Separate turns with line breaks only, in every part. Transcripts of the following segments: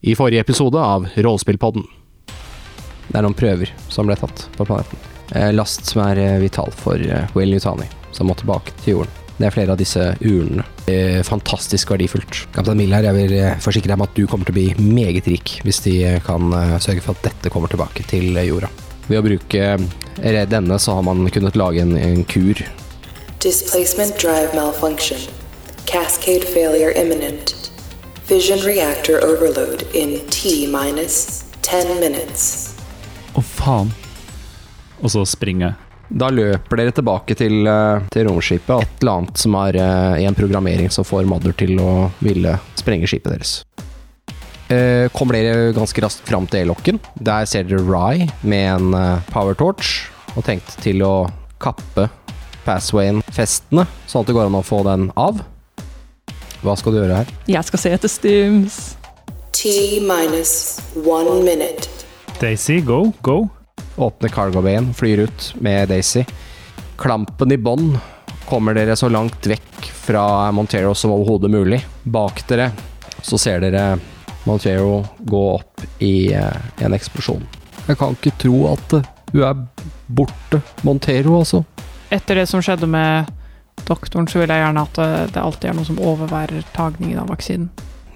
i forrige episode av Rollespillpodden.
Det er noen prøver som ble tatt på planeten. Eh, Last som er eh, vital for eh, Will Yutani, som må tilbake til jorden. Det er flere av disse urnene. Eh, Fantastisk verdifullt.
Kaptein Mill her, jeg vil eh, forsikre deg om at du kommer til å bli meget rik hvis de eh, kan eh, sørge for at dette kommer tilbake til eh, jorda.
Ved å bruke eh, denne, så har man kunnet lage en, en kur.
Displacement drive malfunction. Cascade failure imminent. Vision reactor overload in T minus 10 minutes.
Å, faen. Og så springer jeg.
Da løper dere tilbake til, eh, til romskipet. og Et eller annet som er eh, i en programmering som får Mother til å ville sprenge skipet deres. Eh, Kommer dere ganske raskt fram til E-lokken. Der ser dere Rye med en eh, power torch og tenkte til å kappe Passwayen-festene, sånn at det går an å få den av. Hva skal du gjøre her?
Jeg skal se etter Stims.
T minus 1 minute.
Daisy, go, go.
Åpne cargo-bayen, flyr ut med Daisy. Klampen i bånd kommer dere så langt vekk fra Montero som overhodet mulig. Bak dere så ser dere Montero gå opp i eh, en eksplosjon. Jeg kan ikke tro at eh, hun er borte. Montero, altså.
Etter det som skjedde med doktoren, så vil jeg gjerne at eh, det- det alltid er noe som overværer tagningen av vaksinen.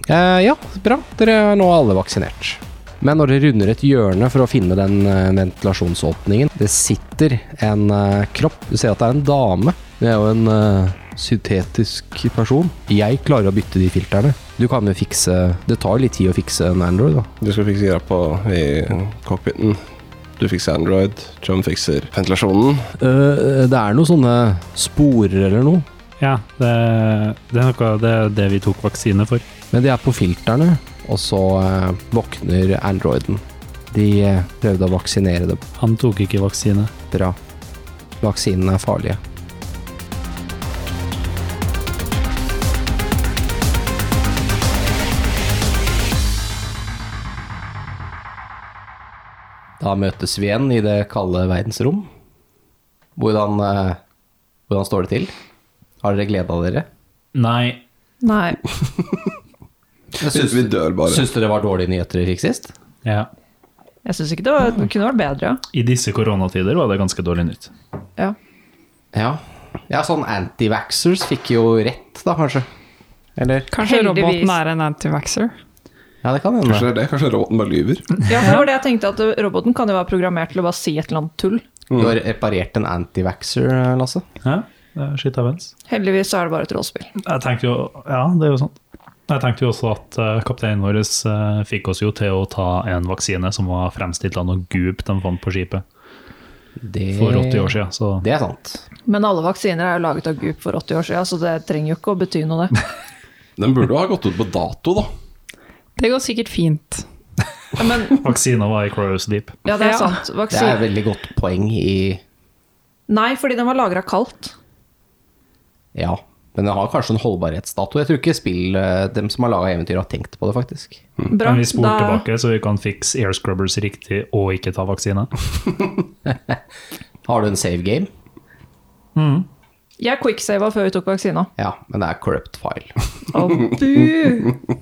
Eh, ja, bra. Dere er nå alle vaksinert. Men når dere runder et hjørne for å finne den eh, ventilasjonsåpningen, det sitter en eh, kropp. Du ser at det er en dame. Det er jo en eh, syntetisk person. Jeg klarer å bytte de filterne. Du kan jo fikse Det tar jo litt tid å fikse en Android, da.
Du skal fikse greia på i cockpiten. Du fikser Android. John fikser ventilasjonen.
Eh, det er noen sånne sporer eller noe,
Ja, det, det er noe det, er det vi tok vaksine for.
men det er på filterne. Og så eh, våkner Androiden. De eh, prøvde å vaksinere det
Han tok ikke vaksine.
bra. Vaksinene er farlige. Da møtes vi igjen i det kalde verdensrom. Hvordan, eh, hvordan står det til? Har dere gleda dere?
Nei.
Nei.
Syns,
Vi dør bare.
syns dere det var dårlige nyheter dere fikk sist?
Ja.
Jeg syns ikke det, var, det kunne vært bedre.
I disse koronatider var det ganske dårlig nytt.
Ja.
Ja. ja sånn antivaxers fikk jo rett, da, kanskje. Eller?
Kanskje
Heldigvis.
roboten er en antivaxer?
Ja, det kan hende.
Kanskje det er det? Kanskje roboten bare lyver?
ja, for det var det jeg tenkte, at eh, roboten kan jo være programmert til å bare si et eller annet tull.
Du
Mm.
har reparert en antivaxer, Lasse?
Ja, det er skitt avens.
Heldigvis så er det bare et rollespill.
Jeg tenkte jo Ja, det er jo sant. Jeg tenkte jo også at eh, kapteinen vår eh, fikk oss jo til å ta en vaksine som var fremstilt av noe gup de fant på skipet
Det-
for 80 år siden. Så
Det er sant.
Men alle vaksiner er jo laget av Goop for 80 år siden, så det trenger jo ikke å bety noe, det.
Den burde jo ha gått ut på dato, da.
Det går sikkert fint.
Ja, Men
vaksina var i Crow's Deep.
ja, det er
Ja.
sant.
Det er et
Vaksin...
veldig godt poeng i
Nei, fordi den var lagra kaldt.
Ja. Men det har kanskje en holdbarhetsdato. Jeg tror ikke spill, eh, dem som har laga eventyr, har tenkt på det, faktisk.
Bra.
Men vi spoler
da-
tilbake, så vi kan fikse air scrubbers riktig og ikke ta vaksine.
Har du en save game?
Jeg quicksava før vi tok vaksina.
Ja, men det er corrupt file.
Og bu!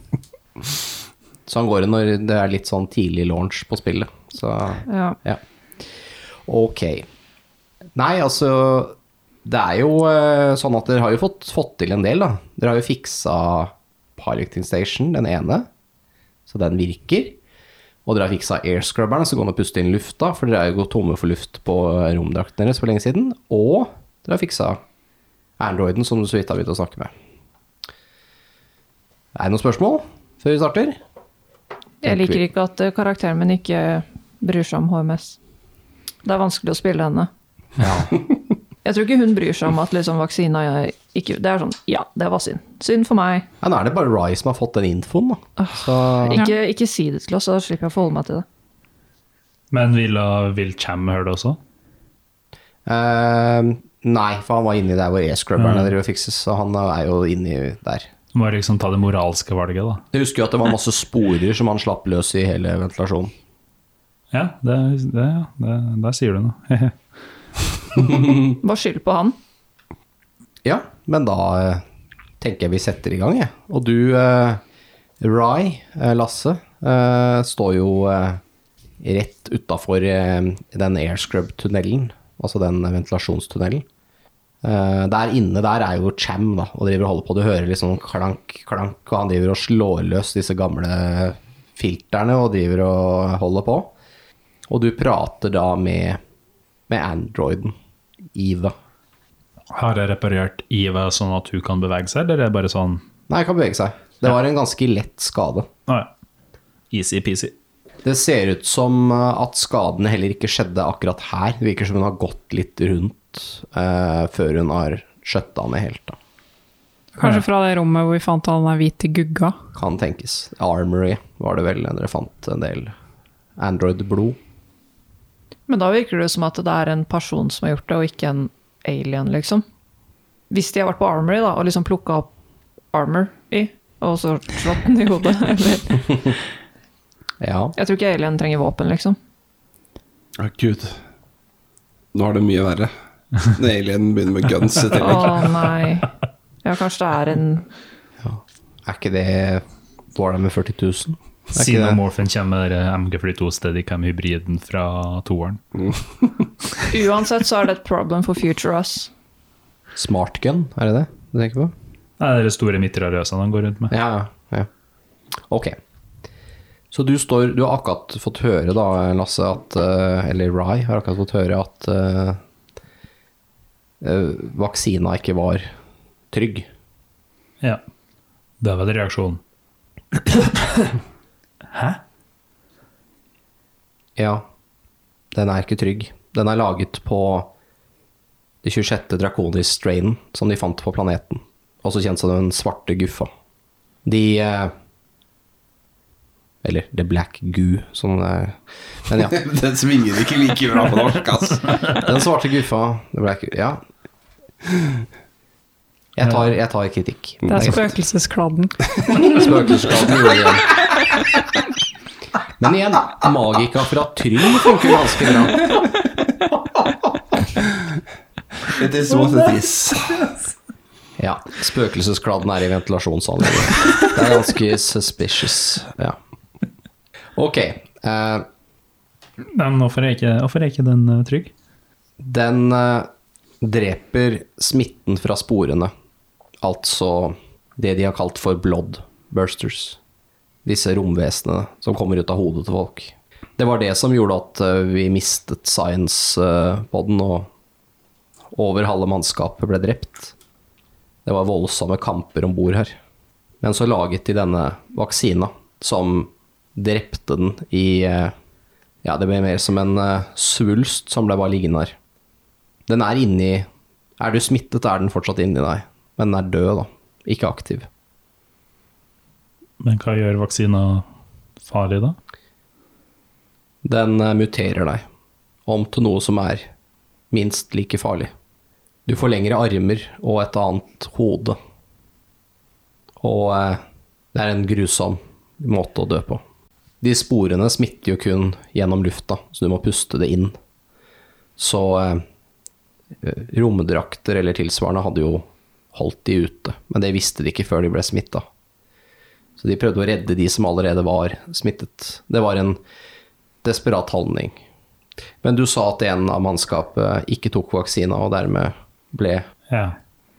Sånn går det når det er litt sånn tidlig launch på spillet. Så
Ja.
ja. Ok. Nei, altså Det er jo eh, sånn at dere har jo fått, fått til en del, da. Dere har jo fiksa Piloting Station, den ene, så den virker. Og dere har fiksa airscrubberen, så går den og puster inn lufta, for dere er jo gått tomme for luft på eh, romdrakten deres for lenge siden. Og dere har fiksa androiden, som du så vidt har begynt å snakke med. Er det noen spørsmål før vi starter?
Jeg liker ikke at eh, karakteren min ikke bryr seg om HMS. Det er vanskelig å spille henne. Jeg tror ikke hun bryr seg om at liksom, vaksina jeg ikke Det er sånn Ja, det var synd. Synd for meg.
Ja, nå er det bare Rai som har fått den infoen, da. Så
Ikke, ikke si det til oss, så slipper jeg å forholde meg til det.
Men vil, eh, vil Cham høre det også?
Eh, nei, for han var inni der hvor e-scrubberne driver og fikses, så han er jo inni der.
Du må liksom ta det moralske valget, da.
Jeg husker jo at det var masse sporer som han slapp løs i hele ventilasjonen.
Ja, det, det, ja, det, der sier du noe.
Bare skyld på han.
Ja, men da eh, tenker jeg vi setter i gang, jeg. Og du eh, Rai, eh, Lasse, eh, står jo eh, rett utafor eh, den airscrub-tunnelen, altså den ventilasjonstunnelen. Eh, Der inne der er jo Cham da, og driver og holder på. Du hører liksom klank, klank, og han driver og slår løs disse gamle filterne og driver og holder på. Og du prater da med, med androiden, Eva.
Har jeg reparert Iva sånn at hun kan bevege seg, eller er det bare sånn
Nei, kan bevege seg. Det var en ganske lett skade.
Å ja. Easy-peasy.
Det ser ut som eh, at skadene heller ikke skjedde akkurat her. Det virker som hun har gått litt rundt eh, før hun har skjøtta ned helt. Da.
Kanskje fra det rommet hvor vi fant han der hvite gugga.
Kan tenkes. Armory var det vel, dere fant en del Android-blod.
Men da virker det som at det er en person som har gjort det, og ikke en alien, liksom. Hvis de har vært på Armory da, og liksom plukka opp Armor i, og så slått den i hodet. Eller,
Ja.
jeg tror ikke alien trenger våpen, liksom.
Å, gud. Nå er det mye verre. Den alien begynner med guns i
Å
tillegg.
nei. Ja, kanskje det er en
Er ikke det Var det med 40 000? Er ikke det?
Xenomorphen kommer MG42 Steadicam-hybriden fra toeren.
Uansett så er det et problem for future us.
Smart gun, er det det du tenker på?
Det er de store mitrarøsene han går rundt med.
Ja, ja. Ok. Så du, står, du har akkurat fått høre, da, Lasse, at eh, Eller Rai har akkurat fått høre at eh, eh, vaksina ikke var trygg.
Ja. Det er vel reaksjonen.
Ja, den er ikke trygg. Den er laget på det 26. draconis-strainen som de fant på planeten. Også kjent som den svarte guffa. De eh, Eller The Black Goo, som det er. Men ja.
Den svinger ikke like bra på norsk, ass.
Den svarte guffa det ble ikke, Ja. Jeg tar, jeg tar kritikk.
Det er spøkelseskladden.
Spøkelsesskaden gjorde det igjen. Men igjen, magika fra Tryll funker ganske bra.
It is what it is.
Ja, spøkelseskladden er i ventilasjonsanlegget. Det er ganske suspicious. Ja. Ok. eh,
Men hvorfor er ikke, hvorfor er ikke den eh, trygg?
Den eh, dreper smitten fra sporene, altså det de har kalt for blood bursters. Disse romvesenene som kommer ut av hodet til folk. Det var det som gjorde at eh, vi mistet science-poden, og over halve mannskapet ble drept. Det var voldsomme kamper om bord her. Men så laget de denne vaksina, som drepte den i eh, Ja, det ble mer som en eh, svulst som ble bare liggende her. Den er inni Er du smittet, er den fortsatt inni deg. Men den er død, da. Ikke aktiv.
Men hva gjør vaksina farlig, da?
Den eh, muterer deg om til noe som er minst like farlig. Du får lengre armer og et annet hode. Og eh, det er en grusom måte å dø på. De sporene smitter jo kun gjennom lufta, så du må puste det inn. Så eh, romdrakter eller tilsvarende hadde jo holdt de ute, men det visste de ikke før de ble smitta. Så de prøvde å redde de som allerede var smittet. Det var en desperat handling. Men du sa at en av mannskapet ikke tok vaksina og dermed ble
Ja.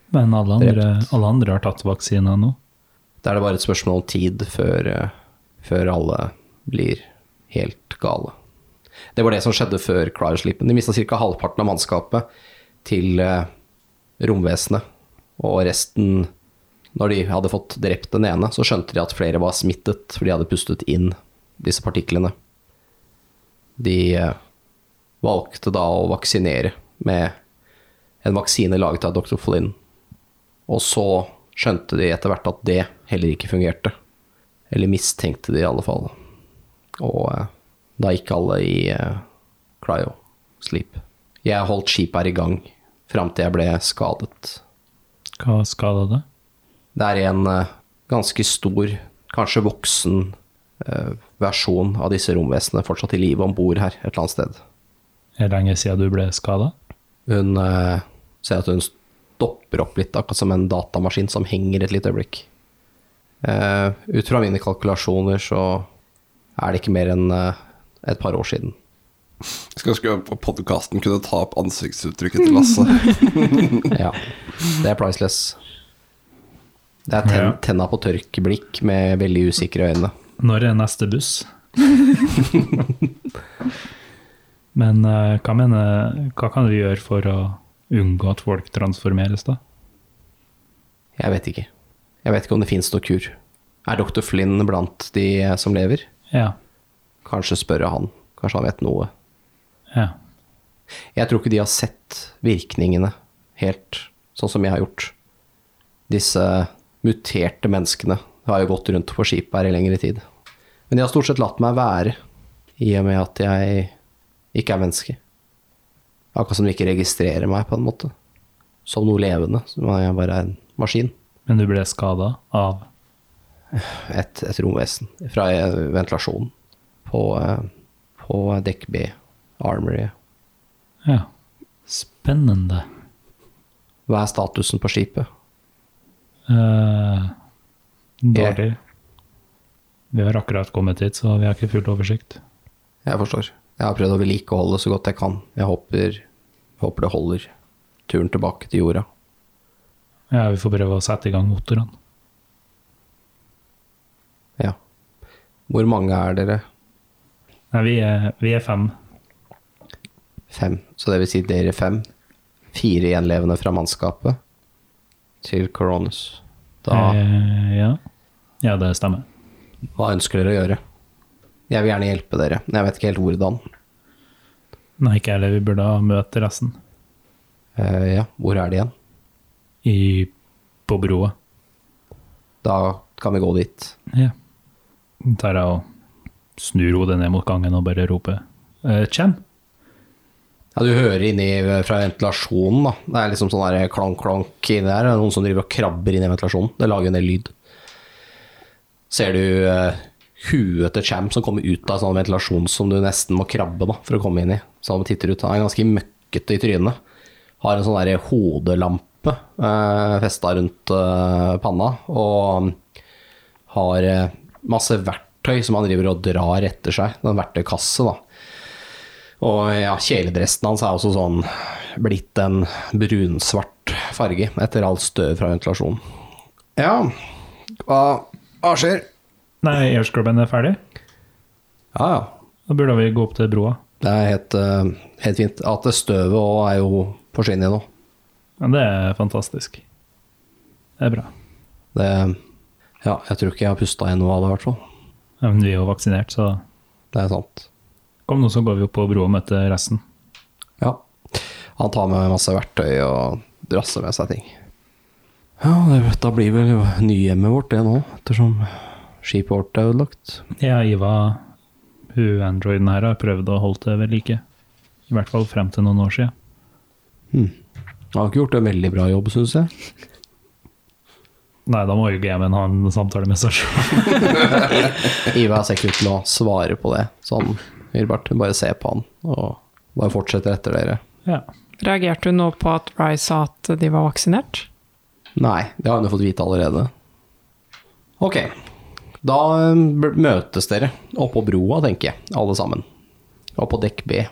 Men alle andre, alle andre har tatt vaksina nå.
Da er det bare et spørsmål om tid før, eh, før alle blir helt gale. Det var det som skjedde før Cryoslipen. De mista ca. halvparten av mannskapet til eh, romvesenet. Og resten, når de hadde fått drept den ene, så skjønte de at flere var smittet, for de hadde pustet inn disse partiklene. De eh, valgte da å vaksinere med en vaksine laget av dr. Flynn. Og så skjønte de etter hvert at det heller ikke fungerte. Eller mistenkte de i alle fall. Og eh, da gikk alle i eh, cryo sleep. Jeg holdt skipet her i gang fram til jeg ble skadet.
Hva skada det?
Det er en eh, ganske stor, kanskje voksen eh, versjon av disse romvesenene fortsatt i live om bord her et eller annet sted.
Er det lenge siden du ble skada?
Hun eh, ser at hun stopper opp litt, akkurat som en datamaskin som henger et lite øyeblikk. Eh, ut fra mine kalkulasjoner så er det ikke mer enn eh, et par år siden.
Jeg skulle ønske på podkasten kunne ta opp ansiktsuttrykket til Lasse.
Ja, det er priceless. Det er ten,
Ja.
tenna på tørk-blikk med veldig usikre øyne.
Når er neste buss? Men eh, hva, mener, hva kan du gjøre for å unngå at folk transformeres, da?
Jeg vet ikke. Jeg vet ikke om det finnes noe kur. Er dr. Flynn blant de eh, som lever?
Ja.
Kanskje spørre han. Kanskje han vet noe.
ja.
Jeg tror ikke de har sett virkningene helt sånn som jeg har gjort. Disse muterte menneskene har jo gått rundt på skipet her i lengre tid. Men de har stort sett latt meg være, i og med at jeg ikke er menneske. Akkurat som de ikke registrerer meg, på en måte. Som noe levende. Som om jeg bare er en maskin.
Men du ble skada av
Et, et romvesen. Fra eh, ventilasjonen på, eh, på dekk B, armoryet.
Ja. Spennende.
Hva er statusen på skipet?
Eh, dårlig. Vi har akkurat kommet hit, så vi har ikke full oversikt.
Jeg forstår. Jeg har prøvd å vedlikeholde så godt jeg kan. Jeg håper, håper det holder turen tilbake til jorda.
Ja, Vi får prøve å sette i gang motorene.
Ja. Hvor mange er dere?
Nei, vi er, vi er fem.
Fem. Så det vil si dere fem. Fire gjenlevende fra mannskapet til Coronas. Da,
Eh, ja. ja, det stemmer.
hva ønsker dere å gjøre? Jeg vil gjerne hjelpe dere, men jeg vet ikke helt hvordan.
Nei, ikke heller. Vi burde ha møtt resten
Eh, ja, hvor er de igjen?
i, på broa.
Da kan vi gå dit.
Ja. Tar jeg og snur hodet ned mot gangen og bare roper eh, Kjem!
Ja, du hører inni eh, fra ventilasjonen, da. Det er liksom sånn der klank-klank inni der. Det er Noen som driver og krabber inni ventilasjonen. Det lager en del lyd. Ser du eh, huet til Champ som kommer ut av en sånn ventilasjon som du nesten må krabbe da, for å komme inn i. Så han titter ut. Han er ganske møkkete i trynet. Har en sånn der hodelampe eh, festa rundt eh, panna. Og mm, har eh, masse verktøy som han driver og drar etter seg. Den verktøykasse, da. Og ja, kjeledressen hans er også sånn blitt en brunsvart farge etter alt støv fra ventilasjonen. Ja, hva, hva skjer?
Nei, airscrubben er ferdig.
Ja, ja.
Da burde vi gå opp til broa.
Det er helt, eh, helt fint. At det støvet òg er jo forsvunnet nå.
Ja, det er fantastisk. Det er bra.
Det Ja, jeg tror ikke jeg har pusta igjen noe av det, i hvert fall.
Ja, men vi er jo vaksinert, så
Det er sant.
kom nå, så går vi opp på broa og møter resten.
Ja. Han tar med masse verktøy og drasser med seg ting. Ja, det, da blir vel nyhjemmet vårt det nå, ettersom skipet vårt er ødelagt.
Ja, Iva, hun androiden her, har prøvd å holde det ved like. I hvert fall frem til noen år siden.
Han har ikke gjort en veldig bra jobb, syns jeg.
Nei, da må jo gamen ha en samtale med seg selv.
Ivar ser ikke ut til å svare på det. Så han vil bare, bare se på han og bare fortsetter etter dere.
Ja.
Reagerte hun nå på at Rye sa at de var vaksinert?
Nei, det har hun jo fått vite allerede. Ok, da eh, b- møtes dere oppå broa, tenker jeg, alle sammen. Og på dekk B.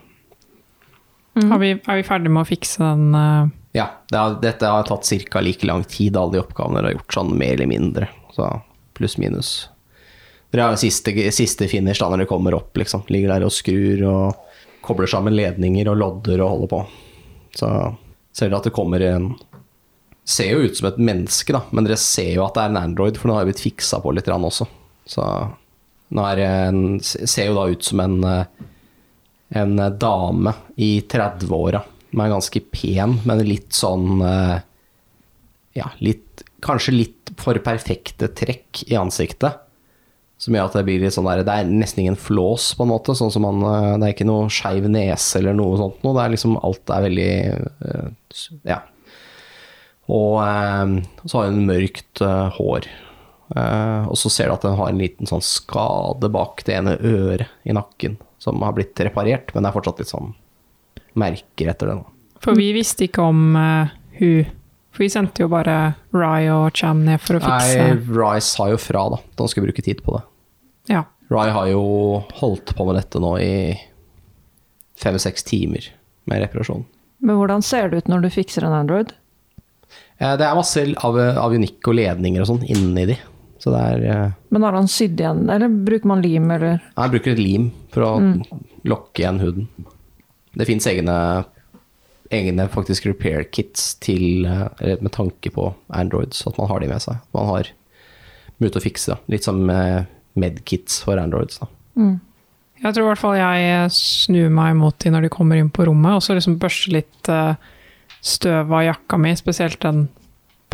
Har vi, er vi ferdige med å fikse den eh,
Ja, det har, dette har tatt ca. like lang tid, alle de oppgavene dere har gjort, sånn mer eller mindre. Så pluss minus. Dere har jo siste, siste finish da når dere kommer opp, liksom. Ligger der og skrur og kobler sammen ledninger og lodder og holder på. Så ser dere at det kommer en Ser jo ut som et menneske, da, men dere ser jo at det er en Android, for den har jo blitt fiksa på litt grann også. Så den er en, ser jo da ut som en eh, en eh, dame i 30-åra. Hun er ganske pen, men litt sånn eh, Ja, litt Kanskje litt for perfekte trekk i ansiktet. Som gjør at det blir litt sånn der Det er nesten ingen flås, på en måte. Sånn som man eh, Det er ikke noe skeiv nese eller noe sånt noe. Det er liksom Alt er veldig eh, s- Ja. Og eh, så har hun mørkt eh, hår. Eh, og så ser du at den har en liten sånn skade bak det ene øret i nakken, som har blitt reparert, men det
Mm.
er fortsatt litt sånn merker etter det. da.
For vi visste ikke om eh, hun For vi sendte jo bare Rye og Cham ned for å fikse
Nei, Rye sa jo fra, da. at Han skulle bruke tid på det.
Ja.
Rye har jo holdt på med dette nå i fem-seks timer med reparasjon.
Men hvordan ser det ut når du fikser en Android?
Eh, Det er masse av- avionikk og ledninger og sånn inni de. Så det er eh,
Men har han sydd igjen, eller bruker man lim, eller
Jeg bruker et lim for å lokke igjen huden. Det fins egne, egne faktisk repair kits til, eh, eller med tanke på Androids, at man har de med seg. Man har mulighet til å fikse det. Litt som eh, medkits for Androids. Da.
Jeg tror i hvert fall jeg eh, snur meg mot de når de kommer inn på rommet, og så liksom børster litt eh, støv av jakka mi, spesielt den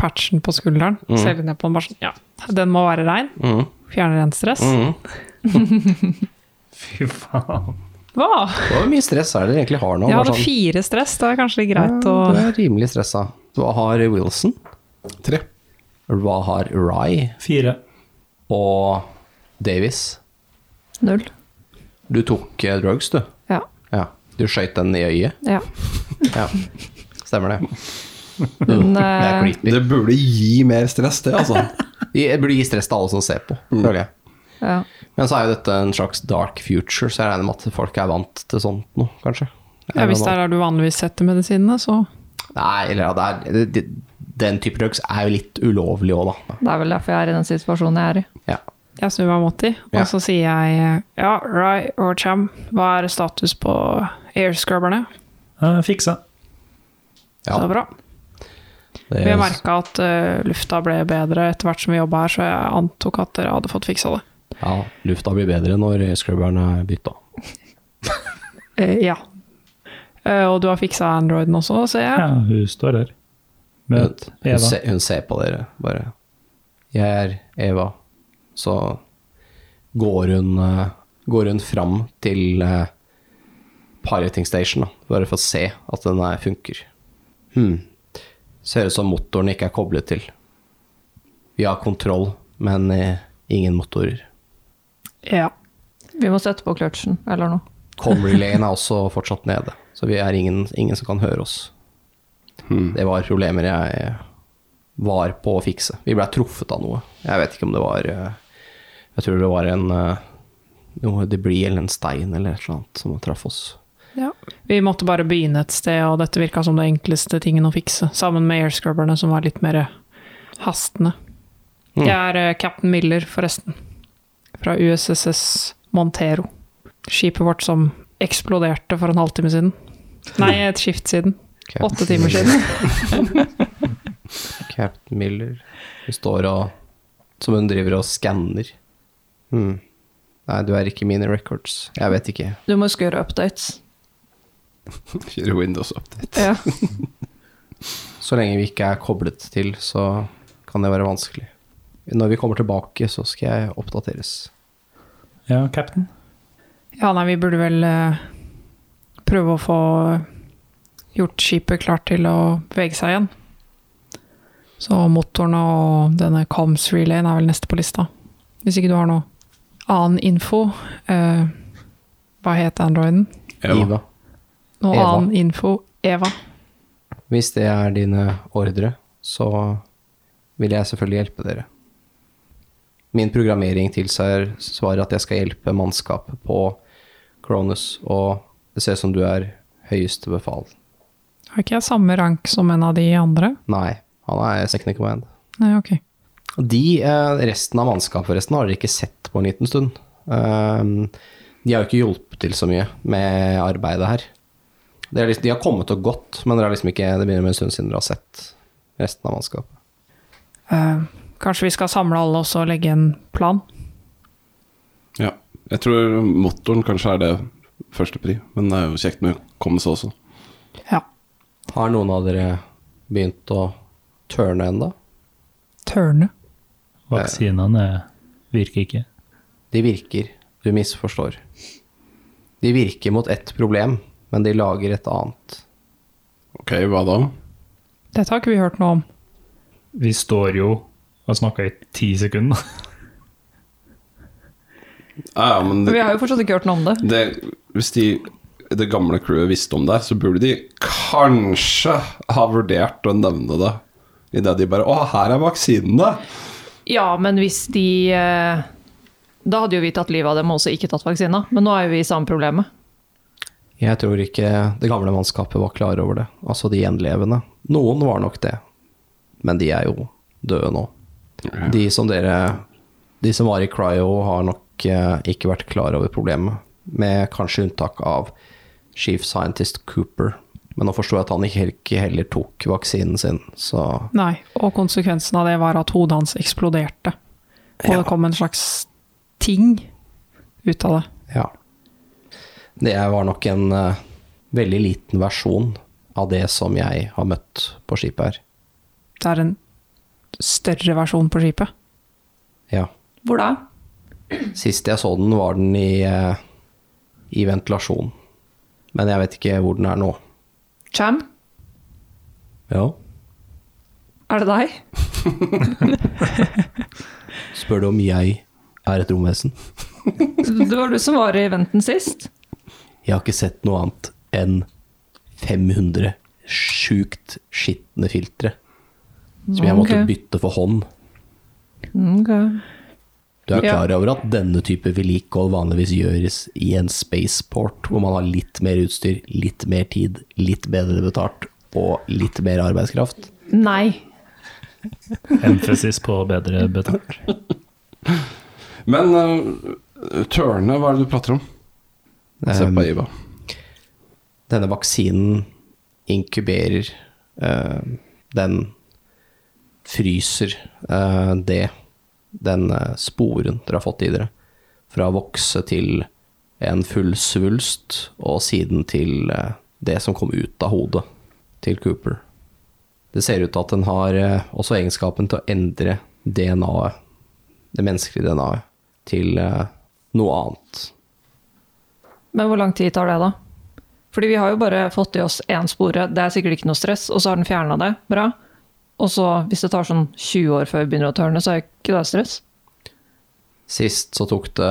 patchen på skulderen.
Mm.
Ser litt ned på den, bare sånn Ja, den må være rein. Fjerner en stress.
Mm.
Fy faen.
Hva?
Det var mye stress er det dere egentlig har nå.
Jeg
Bare sånn.
hadde fire stress, da er det kanskje litt greit å
du er rimelig stressa. Hva har Wilson?
Tre.
Hva har Rye?
Fire.
Og Davis?
null?
Du tok eh, drugs, du?
Ja.
Ja. Du skøyt den i øyet?
ja.
Ja, stemmer det.
Men,
Det er
eh,
creepy.
Det burde gi mer stress, det, altså.
Det burde gi stress til alle som ser på, føler jeg.
ja.
Men så er jo dette en slags dark future, så jeg regner med at folk er vant til sånt nå, kanskje.
ja, Hvis det er der du vanligvis setter medisinene, så
Nei, eller ja, det er, det, det- den type drugs er jo litt ulovlig òg, da.
Det er vel derfor jeg er i den situasjonen jeg er i.
Ja.
jeg snur meg mot de, og
Ja.
så sier jeg eh, Ja, Rye og Cham, hva er status på airscrubberne?
Eh, fiksa.
Ja.
Så bra. Vi har merka at eh, lufta ble bedre etter hvert som vi jobba her, så jeg antok at dere hadde fått fiksa det.
ja, lufta blir bedre når scrubberen er bytta.
Eh, ja. Eh, og du har fiksa androiden også, ser jeg.
Ja, hun står der. Møt
Hun,
Eva.
se, hun ser på dere, bare. Jeg er Eva. Så går hun, eh, går hun fram til eh, piloting station, da, bare for å se at den her funker. Hmm. Ser ut som motoren ikke er koblet til. Vi har kontroll, men eh, ingen motorer.
Ja.
Vi må sette på kløtsjen eller noe.
Com-relayen er også fortsatt nede, så vi er ingen, ingen som kan høre oss. Det var problemer jeg var på å fikse. Vi blei truffet av noe. Jeg vet ikke om det var eh, Jeg tror det var en eh, noe debris eller en stein eller et eller annet som traff oss.
ja. Vi måtte bare begynne et sted, og dette virka som det enkleste tingen å fikse. Sammen med airscrubberne, som var litt mer eh, hastende. Jeg er eh, Captain Miller, forresten. Fra USSS Montero. Skipet vårt som eksploderte for en halvtime siden. Nei, et skift siden.
Cap-
Åtte timer siden.
Captain Miller. Hun står og Som hun driver og skanner. Hmm. Nei, du er ikke mine records. Jeg vet ikke.
Du må huske å gjøre updates.
Kjører Windows update.
Ja.
Så lenge vi ikke er koblet til, så kan det være vanskelig. Når vi kommer tilbake, så skal jeg oppdateres.
Ja, cap'n.
Ja, nei, vi burde vel eh, prøve å få gjort skipet klart til å bevege seg igjen. Så motoren og denne comms-relayen er vel neste på lista. Hvis ikke du har noe annen info eh, Hva het androiden?
Iva,
Noe
Eva.
annen info? Eva.
hvis det er dine ordre, så vil jeg selvfølgelig hjelpe dere. Min programmering tilsier svaret at jeg skal hjelpe mannskapet på Cronus, og det ser ut som du er høyeste befal.
Har ikke jeg samme rank som en av de andre?
Nei, han er second in command.
Nei, ok.
De, eh, resten av mannskapet forresten, har dere ikke sett på en liten stund. Ehm, De har jo ikke hjulpet til så mye med arbeidet her. Det er liksom, de har kommet og gått, men det, er liksom ikke, det begynner med en stund siden dere har sett resten av mannskapet.
Eh, kanskje vi skal samle alle og så legge en plan?
Ja. Jeg tror motoren kanskje er det første pri, men det er jo kjekt med hukommelse også.
Ja.
Har noen av dere begynt å tørne ennå?
Tørne.
Vaksinene virker ikke.
De virker. Du misforstår. De virker mot ett problem, men de lager et annet.
Ok, hva da?
Dette har ikke vi hørt noe om.
Vi står jo og snakker i ti sekunder.
Ja, ja, men
Vi har jo fortsatt ikke hørt noe om det.
det, hvis de, det gamle crewet visste om det, så burde de kanskje ha vurdert å nevne det Idet de bare Å, her er vaksinene!
Ja, men hvis de eh, Da hadde jo vi tatt livet av dem og også ikke tatt vaksina. Men nå er jo vi i samme problemet.
Jeg tror ikke det gamle mannskapet var klar over det. Altså de gjenlevende. Noen var nok det, men de er jo døde nå. De som dere De som var i cryo, har nok eh, ikke vært klar over problemet. Med kanskje unntak av chief scientist Cooper. Men nå forstår jeg at han ikke hel- ikke heller tok vaksinen sin, så
Nei, og konsekvensen av det var at hodet hans eksploderte. Og det kom en slags ting ut av det.
ja. Det var nok en eh, veldig liten versjon av det som jeg har møtt på skipet her.
Det er en større versjon på skipet.
Ja.
Hvor da?
Sist jeg så den, var den i, eh, i ventilasjon. Men jeg vet ikke hvor den er nå.
Cham?
Ja.
Er det deg?
Spør du om jeg er et romvesen?
Det var du som var i venten sist.
Jeg har ikke sett noe annet enn 500 sjukt skitne filtre. Som jeg måtte
Ok.
bytte for hånd. Du er
Ja.
klar over at denne type vedlikehold vanligvis gjøres i en spaceport, hvor man har litt mer utstyr, litt mer tid, litt bedre betalt og litt mer arbeidskraft?
Nei.
Emphasis på bedre betalt.
Men uh, tørne, hva er det du prater om? Se på Iva.
denne vaksinen inkuberer eh, Den fryser eh, det den eh, sporen dere har fått i dere. Fra å vokse til en full svulst, og siden til eh, det som kom ut av hodet til Cooper. Det ser ut til at den har eh, også egenskapen til å endre DNA-et, det menneskelige DNA-et, til eh, noe annet.
Men hvor lang tid tar det, da? Fordi vi har jo bare fått i oss én spore, det er sikkert ikke noe stress, og så har den fjerna det. Bra. Og så, hvis det tar sånn 20 år før vi begynner å tørne, så er ikke det stress.
Sist så tok det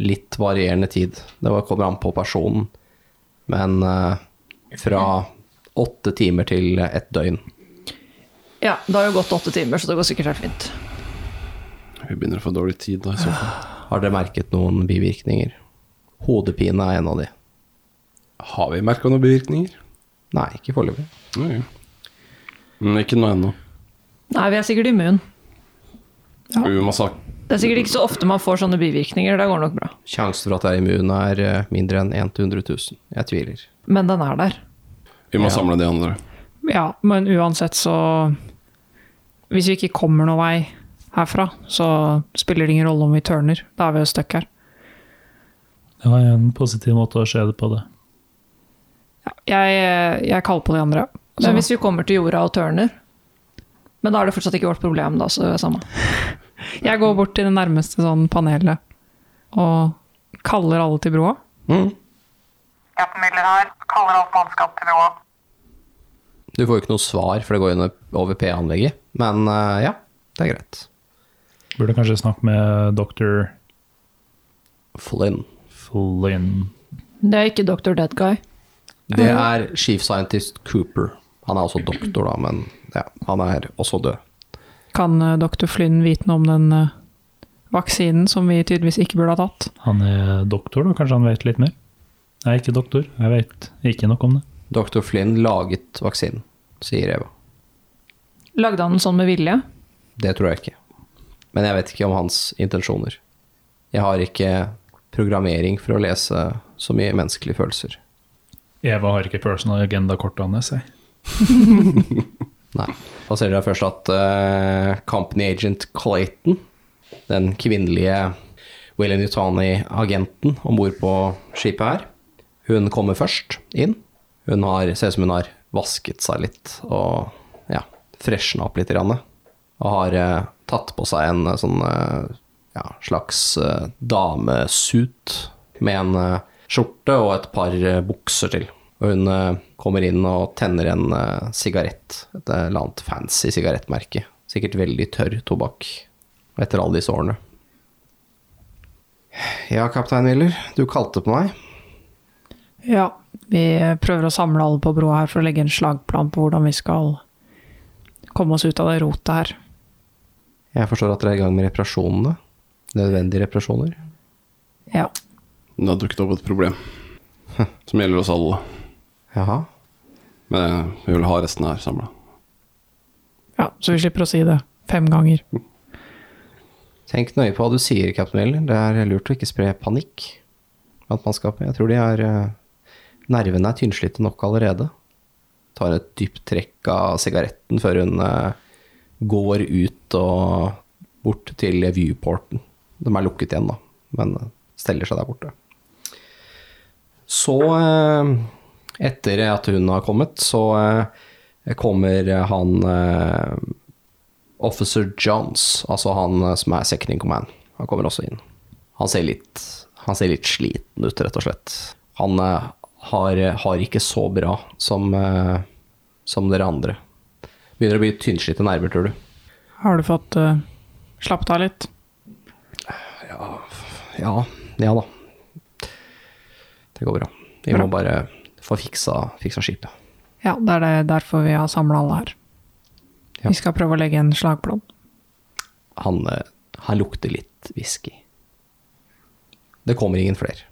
litt varierende tid. Det var- kommer an på personen. Men eh, fra åtte timer til et døgn.
Ja, det har jo gått åtte timer, så det går sikkert helt fint.
Vi begynner å få dårlig tid da, i så fall.
Har dere merket noen bivirkninger? Hodepine er en av de.
Har vi merka noen bivirkninger?
Nei, ikke foreløpig.
Nei. Men Mm, ikke noe ennå.
Nei, vi er sikkert immun.
Vi må sak-
Det er sikkert ikke så ofte man får sånne bivirkninger, det går nok bra.
Sjansen for at jeg er immun er eh, mindre enn 1 til 100 000. Jeg tviler.
Men den er der.
vi må samle de andre.
Ja, men uansett så Hvis vi ikke kommer noen vei herfra, så spiller det ingen rolle om vi tørner. Da er vi jo stuck her.
Det var en positiv måte å se det på det.
Jeg, jeg kaller på de andre. Så,
Men hvis vi kommer til jorda og tørner Men da er det fortsatt ikke vårt problem, da, så det er samme.
jeg går bort til det nærmeste sånn panelet og kaller alle til broa.
Hjelpemidler her. Kaller alt mannskap til byrået.
Du får jo ikke noe svar, for det går jo under- over P-anlegget. Men eh, ja, det er greit.
Burde kanskje snakke med doktor
Flynn.
Flynn.
Det er ikke Dr. Dead Guy.
Det er chief scientist Cooper. Han er også doktor, da, men ja, han er også død.
Kan eh, dr. Flynn vite noe om den eh, vaksinen som vi tydeligvis ikke burde ha tatt?
Han er doktor, da. Kanskje han vet litt mer? Jeg er ikke doktor, jeg vet ikke nok om det.
Dr. Flynn laget vaksinen, sier Eva.
Lagde han den sånn med vilje?
Det tror jeg ikke. Men jeg vet ikke om hans intensjoner. Jeg har ikke programmering for å lese så mye menneskelige følelser.
Eva har ikke personal agenda-kortet hans, jeg.
Nei. Da ser dere først at eh, Company Agent Clayton, den kvinnelige William Nutani-agenten om bord på skipet her, hun kommer først inn. Hun har, ser ut som hun har vasket seg litt og ja, freshna opp litt. Grann, og har eh, tatt på seg en eh, sånn eh, ja, slags eh, damesuit med en eh, skjorte og et par eh, bukser til. Og hun eh, kommer inn og tenner en eh, sigarett, et eh, eller annet fancy sigarettmerke. Sikkert veldig tørr tobakk etter alle disse årene. Ja, kaptein Willer, du kalte på meg.
Ja, eh, vi prøver å samle alle på broa her for å legge en slagplan på hvordan vi skal komme oss ut av det rotet her.
Jeg forstår at dere er i gang med reparasjonene. Nødvendige reparasjoner.
Ja.
Det har dukket opp et problem som gjelder oss alle.
Jaha.
Men vi vil ha resten her samla.
ja. Så vi slipper å si det fem ganger.
Tenk nøye på hva du sier, kaptein Miller. Det er lurt å ikke spre panikk blant mannskapet. Jeg tror de er eh, Nervene er tynnslitte nok allerede. Tar et dypt trekk av sigaretten før hun eh, går ut og bort til viewporten. De er lukket igjen, da, men eh, steller seg der borte. Så, eh, etter at hun har kommet, så eh, kommer han eh, Officer Johns, altså han eh, som er second in command, han kommer også inn. Han ser litt, han ser litt sliten ut, rett og slett. Han eh, har, har ikke så bra som, eh, som dere andre. Begynner å bli tynnslitte nerver, tror du.
Har du fått eh, slappet av litt?
Ja, ja da. Det går bra. Vi må bare få fiksa, fiksa skipet.
Ja, det er det, derfor vi har samla alle her.
Ja.
Vi skal prøve å legge en slagplan.
Han, eh, han lukter litt whisky. Det kommer ingen flere.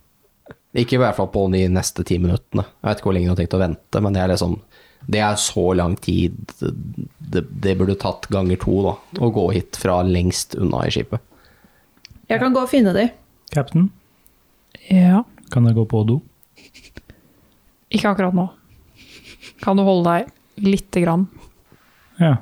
Ikke i hvert fall på de neste ti minuttene. Jeg vet ikke hvor lenge du har tenkt å vente, men det er liksom Det er så lang tid. Det, det burde tatt ganger to, da. Å gå hit fra lengst unna i skipet.
Jeg kan gå og finne de.
Captain,
Ja.
kan jeg gå på do?
Ikke akkurat nå. Kan du holde deg lite grann?
Ja.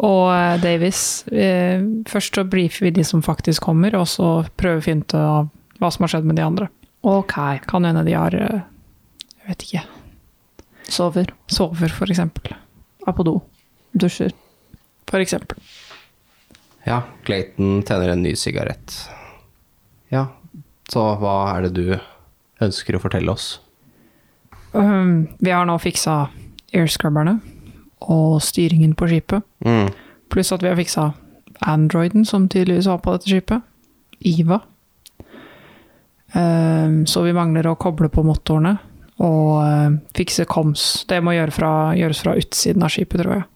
Og eh, Davis, eh, først så briefer vi de som faktisk kommer, og så prøver vi å finne ut av hva som har skjedd med de andre.
Ok.
Kan hende de har, eh, jeg vet ikke,
Sover.
sover for eksempel.
Er på do. Dusjer.
For eksempel.
Ja, Clayton tenner en ny sigarett. Ja, så hva er det du ønsker å fortelle oss?
Um, vi har nå fiksa airscrubberne og styringen på skipet. Pluss at vi har fiksa androiden som tydeligvis var på dette skipet. Iva. Um, så vi mangler å koble på motorene og uh, fikse koms. Det må gjøre fra, gjøres fra utsiden av skipet, tror jeg.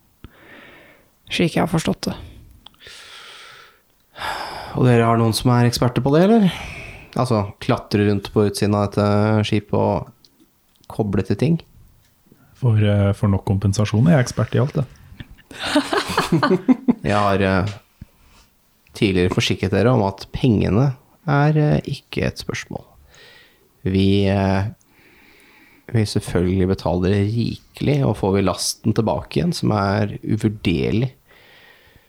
Slik jeg har forstått det.
Og dere har noen som er eksperter på det, eller? Altså klatre rundt på utsiden av dette skipet og koble til ting?
For, eh, for nok kompensasjon er jeg ekspert i alt, det.
Jeg har eh, tidligere forsikret dere om at pengene er eh, ikke et spørsmål. Vi eh, vil selvfølgelig betale dere rikelig, og får vi lasten tilbake igjen, som er uvurderlig,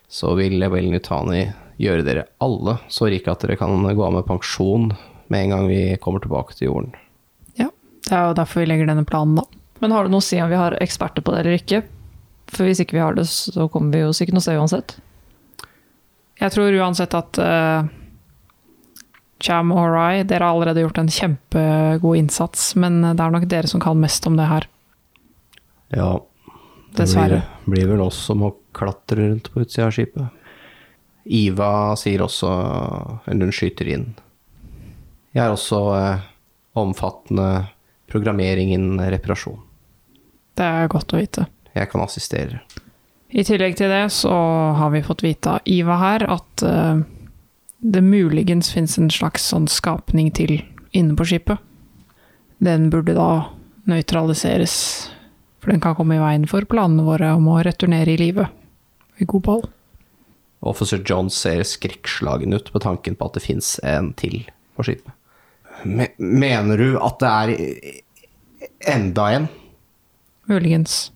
så vil Vel Nutani gjøre dere alle så rike at dere kan gå av med pensjon med en gang vi kommer tilbake til jorden.
Ja, Det er jo derfor vi legger denne planen, da.
Men har det noe å si om vi har eksperter på det eller ikke? For hvis ikke vi har det, så kommer vi jo sikkert noe sted uansett.
Jeg tror uansett at eh, Cham og Rai, dere har allerede gjort en kjempegod innsats, men det er nok dere som kan mest om det her.
Ja, det
Dessverre.
Blir, blir vel oss som må klatre rundt på utsida av skipet. Iva sier også Eller hun skyter inn. Jeg har også eh, omfattende programmering innen reparasjon.
Det er godt å vite.
Jeg kan assistere.
I tillegg til det så har vi fått vite av Iva her at eh, det muligens finnes en slags sånn skapning til inne på skipet. Den burde da nøytraliseres, for den kan komme i veien for planene våre om å returnere i live. I god ball.
Officer John ser skrekkslagen ut på tanken på at det fins en til på skipet. Mener du at det er enda en
Muligens.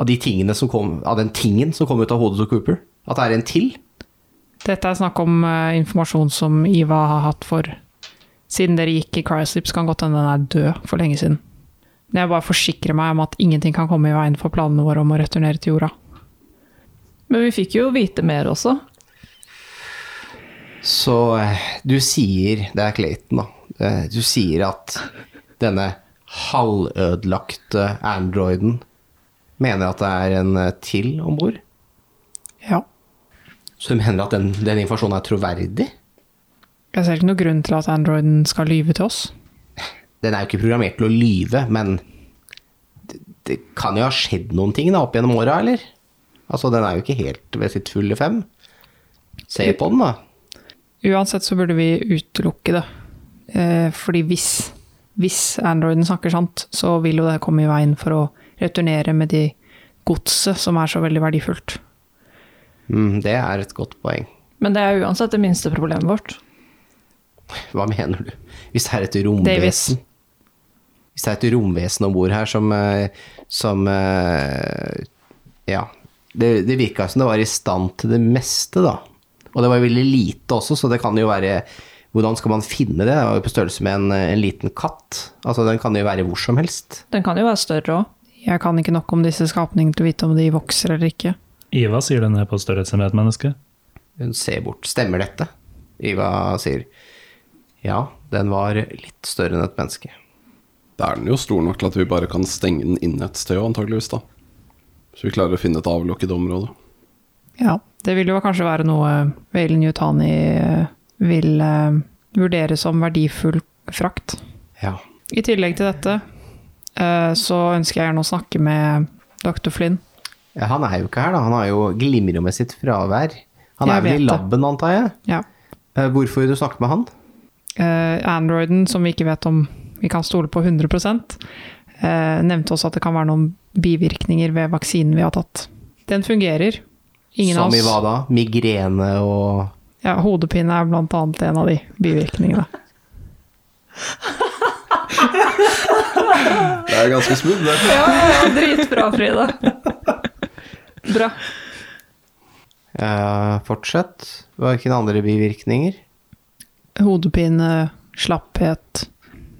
av, de tingene som kom, av den tingen som kom ut av hodet til Cooper? At det er en til?
Dette er snakk om eh, informasjon som Iva har hatt for siden dere gikk i Cryoslips, kan godt hende den er død for lenge siden. Men jeg bare forsikrer meg om at ingenting kan komme i veien for planene våre om å returnere til jorda.
Men vi fikk jo vite mer også.
Så eh, du sier, det er Clayton da, eh, du sier at denne halvødelagte androiden mener at det er en eh, til ombord?
Ja.
Så du mener at den, den informasjonen er troverdig?
Jeg ser ikke noen grunn til at androiden skal lyve til oss.
Den er jo ikke programmert til å lyve, men det, det kan jo ha skjedd noen ting da, opp gjennom åra, eller? Altså, den er jo ikke helt ved sitt fulle fem. Se på den, da.
Uansett så burde vi utelukke det. Eh, fordi hvis, hvis androiden snakker sant, så vil jo det komme i veien for å returnere med de godset som er så veldig verdifullt.
Mm, det er et godt poeng.
Men det er uansett det minste problemet vårt.
Hva mener du? Hvis det er et
Davis.
romvesen Hvis det er et romvesen om bord her som, eh, som eh, Ja. Det, det virka som det var i stand til det meste, da. Og det var veldig lite også, så det kan jo være Hvordan skal man finne det? Det var jo på størrelse med en, en liten katt. Altså, den kan jo være hvor som helst.
Den kan jo være større òg.
Jeg kan ikke nok om disse skapningene til å vite om de vokser eller ikke.
Iva sier den er på størrelse med et menneske.
Hun ser bort. Stemmer dette? Iva sier. Ja, den var litt større enn et menneske.
Da er den jo stor nok til at vi bare kan stenge den inne et sted, antageligvis da. Så vi klarer å finne et avlukket område.
Ja, det vil jo kanskje være noe Valen Yutani eh, vil eh, vurdere som verdifull frakt.
Ja.
I tillegg til dette eh, så ønsker jeg gjerne å snakke med dr. Flynn.
Ja, Han er jo ikke her, da. Han har jo glimrer med sitt fravær. Han
Jeg
er vel
vet
i
det.
laben, antar jeg.
Ja.
Eh, Hvorfor vil du snakke med han?
Eh, Androiden, som vi ikke vet om vi kan stole på 100 eh, nevnte også at det kan være noen bivirkninger ved vaksinen vi har tatt. Den fungerer. Ingen
Som
av
i
oss.
hva da? Migrene og
Ja, hodepine er blant annet en av de bivirkningene.
Det er ganske smooth, det.
Ja, ja, dritbra, Frida. Bra.
eh, Fortsett. Hvilke andre bivirkninger?
Hodepine, slapphet,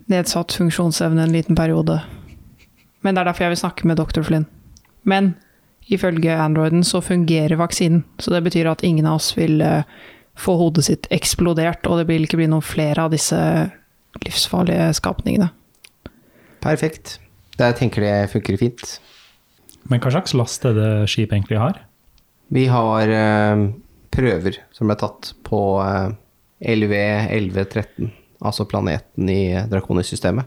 nedsatt funksjonsevne en liten periode. Men det er derfor jeg vil snakke med dr. Flynn. Men ifølge androiden så fungerer vaksinen, så det betyr at ingen av oss vil eh, få hodet sitt eksplodert, og det vil ikke bli noen flere av disse livsfarlige skapningene.
Perfekt. Jeg tenker det funker fint.
Men hva slags last er det skipet egentlig har?
Vi har eh, prøver som ble tatt på eh, LV 1113, altså planeten i Draconis-systemet.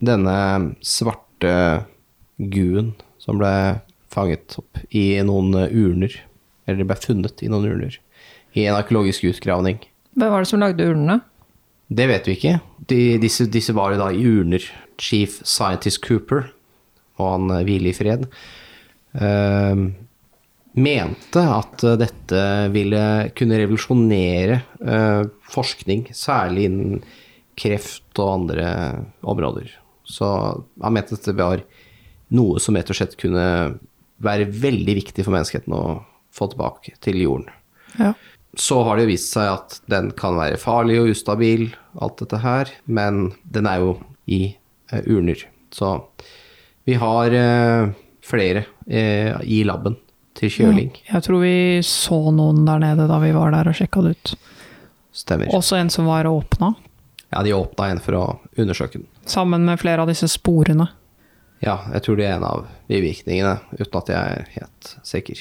Denne svarte guen som ble fanget opp i noen urner, eller ble funnet i noen urner, i en arkeologisk utgravning.
Hvem var det som lagde ulene?
Det vet vi ikke. De, disse, disse var jo da i urner. Chief Scientist Cooper, og han eh, hvile i fred, eh, mente at eh, dette ville kunne revolusjonere eh, forskning, særlig innen kreft og andre områder. Så han mente at det var noe som rett og slett kunne være veldig viktig for menneskeheten å få tilbake til jorden
Ja.
så har det jo vist seg at den kan være farlig og ustabil, alt dette her, men den er jo i eh, urner. Så vi har eh, flere eh, i laben til kjøling,
Jeg tror vi så noen der nede da vi var der og sjekka det ut.
stemmer.
Også en som var åpna,
Ja, de åpna en for å undersøke den.
sammen med flere av disse sporene.
Ja, jeg tror det er en av bivirkningene, uten at jeg er helt sikker.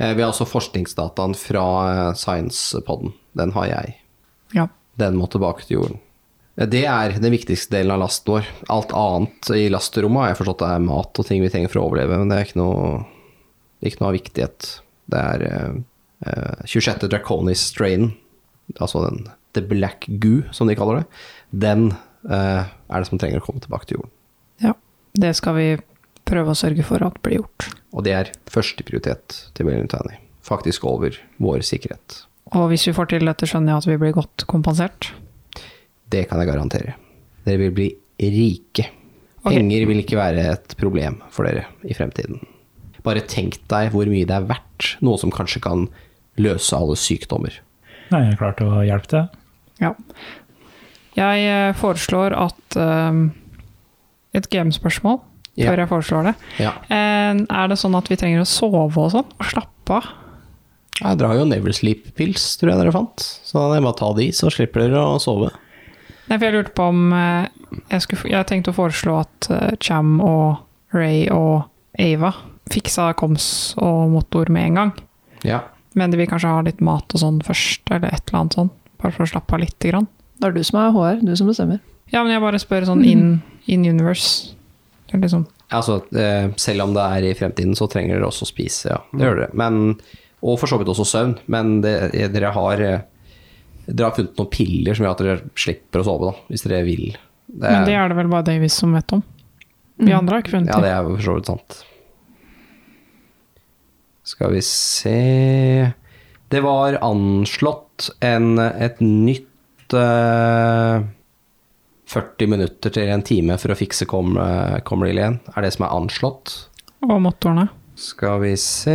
Eh, vi har også forskningsdataen fra eh, Science-poden. Den har jeg.
Ja.
Den må tilbake til jorden. Det er den viktigste delen av lasten vår. Alt annet i lasterommet har jeg forstått det er mat og ting vi trenger for å overleve, men det er ikke noe, det er ikke noe av viktighet. Det er eh, eh, 26. Draconis strain, altså den The Black Goo, som de kaller det, den eh, er det som trenger å komme tilbake til jorden.
ja. Det skal vi prøve å sørge for at blir gjort.
Og det er førsteprioritet til Bellintani. Faktisk over vår sikkerhet.
Og hvis vi får til dette, skjønner jeg at vi blir godt kompensert.
Det kan jeg garantere. Dere vil bli rike.
Ok.
Penger vil ikke være et problem for dere i fremtiden. Bare tenk deg hvor mye det er verdt, noe som kanskje kan løse alle sykdommer.
Nei, jeg er klar til å hjelpe til.
Ja. Jeg eh, foreslår at eh, Et game-spørsmål
Ja.
før jeg foreslår det.
Ja.
Eh, er det sånn at vi trenger å sove og sånn? Og slappe av?
Jeg drar jo Never Sleep-pils, tror jeg dere fant. Så da kan jeg bare ta de, så slipper dere å sove.
Nei, for jeg lurte på om eh, jeg, skulle, jeg tenkte å foreslå at eh, Cham og Ray og Ava fiksa koms og motor med en gang.
Ja.
Men de vil kanskje ha litt mat og sånn først, eller et eller annet sånn. Bare for å slappe av lite grann.
Det er du som er HR, du som bestemmer.
Mhm. Ja, men jeg bare spør sånn in, in universe. Det er Liksom,
Altså, eh, selv om det er i fremtiden, så trenger dere også å spise, ja. Det gjør dere. Men, og for så vidt også søvn. Men det, dere har eh, Dere har funnet noen piller som gjør at dere slipper å sove, da, hvis dere vil. Det
Men det er det vel bare Davies som vet om. Vi andre har ikke funnet
Ja,
det.
det er jo for så vidt sant. Skal vi se Det var anslått en, et nytt eh, 40 minutter til en time for å fikse Comreel igjen. Er det som er anslått?
Og motorene.
Skal vi se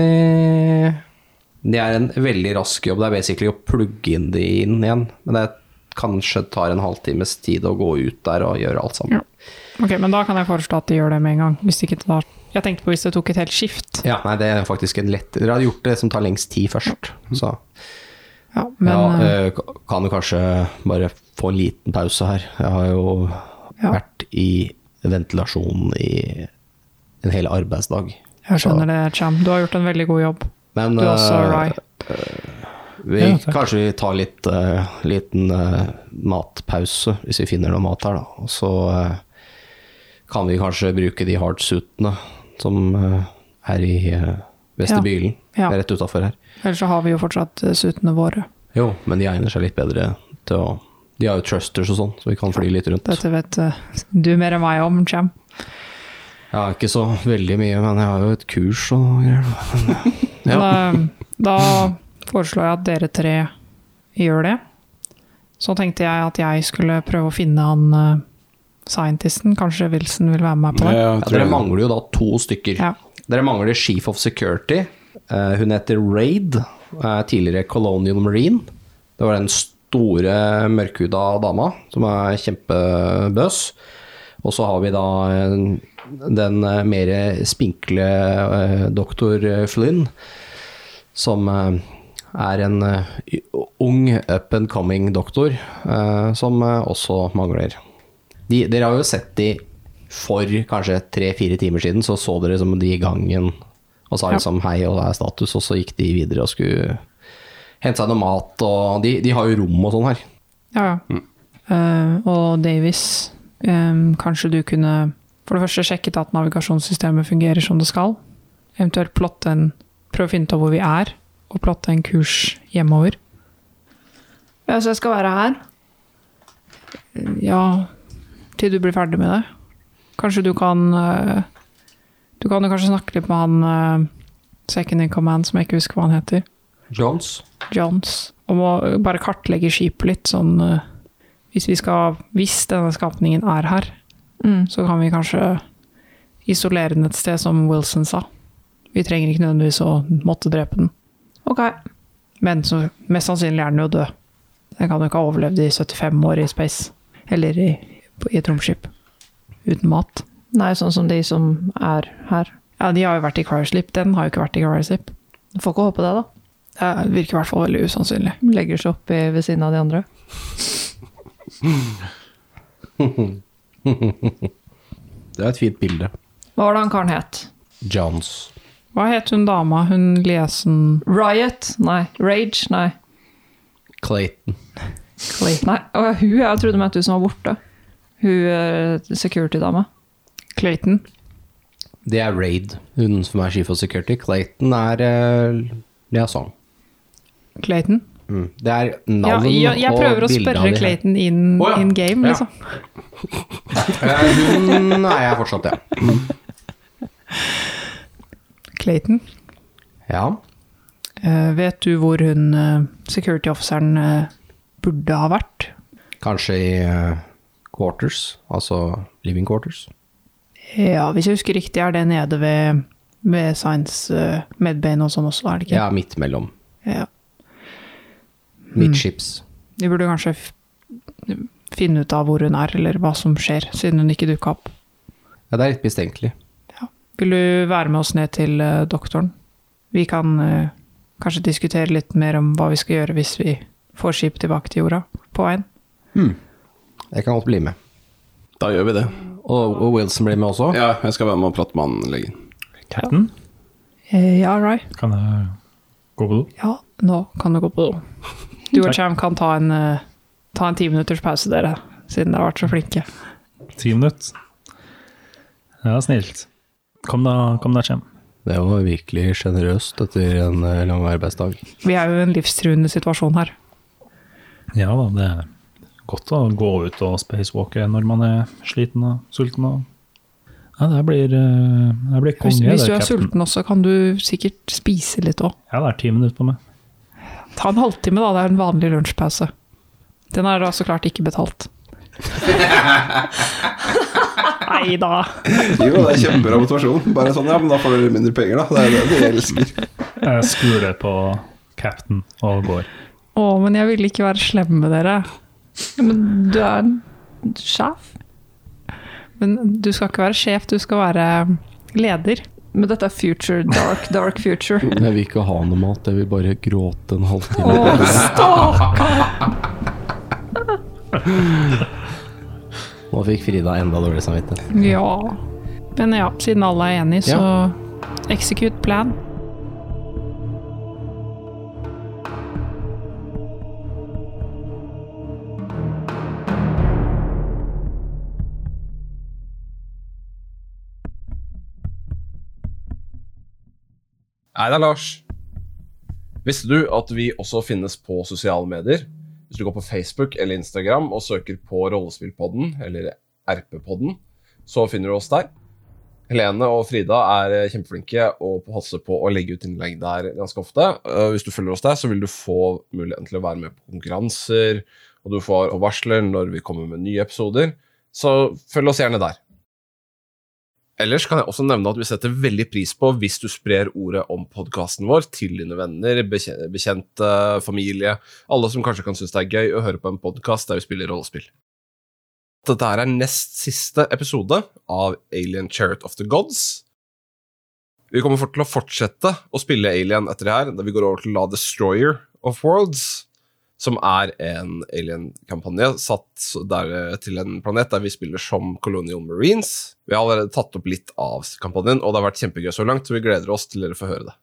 Det er en veldig rask jobb. Det er basically å plugge inn de inn igjen. Men det kanskje tar en halvtimes tid å gå ut der og gjøre alt sammen.
Ok, men da kan jeg foreslå at de gjør det med en gang. Hvis det ikke tar Jeg tenkte på hvis det tok et helt skift.
Ja, nei, det er faktisk en lett Dere har gjort det som tar lengst tid først. Så
Ja, men
ja,
eh,
eh, ka- kan jo kanskje bare få en liten pause her. Jeg har jo
Ja.
vært i ventilasjon i en hel arbeidsdag.
jeg skjønner det, Cham. Du har gjort en veldig god jobb.
Men
Du også,
eh,
Rai.
vi,
Ja, takk.
kanskje vi tar litt eh, liten eh, matpause, hvis vi finner noe mat her, da. Og så eh, kan vi kanskje bruke de hardsuitene som eh, er i uh, Vestre
Ja.
Bylen,
Ja.
rett utafor her.
Ellers så har vi jo fortsatt eh, suitene våre.
Jo, men de egner seg litt bedre til å De har jo trusters og sånn, så vi kan fly litt rundt.
Dette vet eh, du mer enn meg om, Cham.
Jeg har ikke så veldig mye, men jeg har jo et kurs og greier.
Men, eh, da foreslår jeg at dere tre gjør det. Så tenkte jeg at jeg skulle prøve å finne han eh, scientisten. Kanskje Wilson vil være med meg på det?
Ja, jeg
Ja,
tror
dere
jeg-
mangler jo da to stykker.
Ja.
Dere mangler Chief of Security. Eh, hun heter Raid, er tidligere Colonial Marine. Det var den store, mørkhuda dama som er kjempebøs. Og så har vi da eh, den eh, mer spinkle eh, doktor Flynn, som eh, er en eh, ung, up and coming doktor, eh, som eh, også mangler. De, dere har jo sett de for kanskje tre-fire timer siden, så så dere som de i gangen og sa liksom hei, og det er status, og så gikk de videre og skulle hente seg noe mat, og de, de har jo rom og sånn her.
Ja, ja. Eh, og Davis, eh, kanskje du kunne for det første sjekket at navigasjonssystemet fungerer som det skal. Eventuelt plotte en, prøve å finne ut av hvor vi er, og plotte en kurs hjemover.
Ja, så jeg skal være her?
Ja, til du blir ferdig med det. Kanskje du kan eh, Du kan jo kanskje snakke litt med han eh, second in command, som jeg ikke husker hva han heter.
Jones?
Jones om å bare kartlegge skipet litt, sånn eh, hvis, vi skal, hvis denne skapningen er her,
Mm.
så kan vi kanskje isolere den et sted, som Wilson sa. Vi trenger ikke nødvendigvis å måtte drepe den.
Ok.
Men så, mest sannsynlig er den jo død. Den kan jo ikke ha overlevd i 75 år i space, eller i, på- i et romskip uten mat.
Nei, sånn som de som er her.
Ja, de har jo vært i cryoslip. Den har jo ikke vært i cryoslip.
Du får ikke håpe det, da.
Det virker i hvert fall veldig usannsynlig.
Legger seg opp i- ved siden av de andre.
Det er et fint bilde.
Hva var det han karen het?
Jones.
Hva het hun dama, hun liesen
Riot? Nei. Rage? Nei.
Clayton.
Nei, og hun, jeg trodde meg at du som var borte. Hun eh, security-dama.
Clayton?
Det er Raid, hun som er chief of security. Clayton er uh, liaison.
Clayton?
Mm. Det er
Ja,
navn
ja, jeg prøver å
og bilde
spørre
av de her.
Clayton in,
Å, ja.
in game,
Ja.
liksom.
Eh, Hun er jeg fortsatt, ja.
Clayton,
Ja.
eh, vet du hvor hun eh, security officeren eh, burde ha vært?
Kanskje i eh, quarters, altså living quarters.
Ja, hvis jeg husker riktig, er det nede ved, ved Science eh, Medbane og sånn også, er det ikke?
Ja, midt mellom.
Ja. Mm.
Midtskips.
Vi burde kanskje f finne ut av hvor hun er, eller hva som skjer, siden hun ikke dukka opp.
Ja, det er litt mistenkelig.
Vil du være med oss ned til eh, doktoren? Vi kan eh, kanskje diskutere litt mer om hva vi skal gjøre hvis vi får skipet tilbake til jorda på veien.
Jeg kan godt bli med.
Da gjør vi det.
Og, og Wilson blir med også?
Ja, jeg skal være med og prate med han legen.
Captain,
Eh, ja, right.
kan jeg gå på do?
Ja, nå kan du gå på do. Du og Cham kan ta en, eh, ta en ti minutters pause, dere, siden dere har vært så flinke.
Ti minutter. Ja, snilt. Kom da, kom da, Kjem.
Det var virkelig sjenerøst etter en eh, lang arbeidsdag.
Vi er jo i en livstruende situasjon her.
Ja da, det er godt å gå ut og spacewalke når man er sliten og sulten. Og ja, det her blir, eh, det her blir
Hvis,
konge.
hvis
det,
du er
captain.
sulten også, kan du sikkert spise litt òg.
Ja, det er ti minutter på meg.
Ta en halvtime, da. Det er en vanlig lunsjpause. Den er da så klart ikke betalt. Nei da.
Jo, det er kjempebra motivasjon. Bare sånn, ja, men da får dere mindre penger, da. Det er det vi elsker.
Jeg skuler på captain og går.
Å, men jeg ville ikke være slem med dere.
Men du er en sjef.
Men du skal ikke være sjef, du skal være leder.
Men dette er future, dark, dark future.
Jeg vil ikke ha noe mat, jeg vil bare gråte en halvtime.
Å, stakkar!
Nå fikk Frida enda dårlig samvittighet.
Ja. Men ja, siden alle er enige, så execute plan.
Nei da, Lars. Visste du at vi også finnes på sosiale medier? Hvis du går på Facebook eller Instagram og søker på Rollespillpodden eller RP-podden, så finner du oss der. Helene og Frida er eh, kjempeflinke og passer på å legge ut innlegg der ganske ofte. Eh, Hvis du følger oss der, så vil du få muligheten til å være med på konkurranser, og du får varsler når vi kommer med nye episoder. Så følg oss gjerne der. Ellers kan jeg også nevne at vi setter veldig pris på hvis du sprer ordet om podkasten vår til dine venner, bekje- bekjente, familie, alle som kanskje kan synes det er gøy å høre på en podkast der vi spiller rollespill. Dette her er nest siste episode av Alien Chariot of the Gods. Vi kommer fort til å fortsette å spille Alien etter det her, da vi går over til La Destroyer of Worlds, som er en alien-kampanje satt der, eh, til en planet der vi spiller som Colonial Marines. Vi har allerede tatt opp litt av kampanjen, og det har vært kjempegøy så langt, så vi gleder oss til dere får høre det.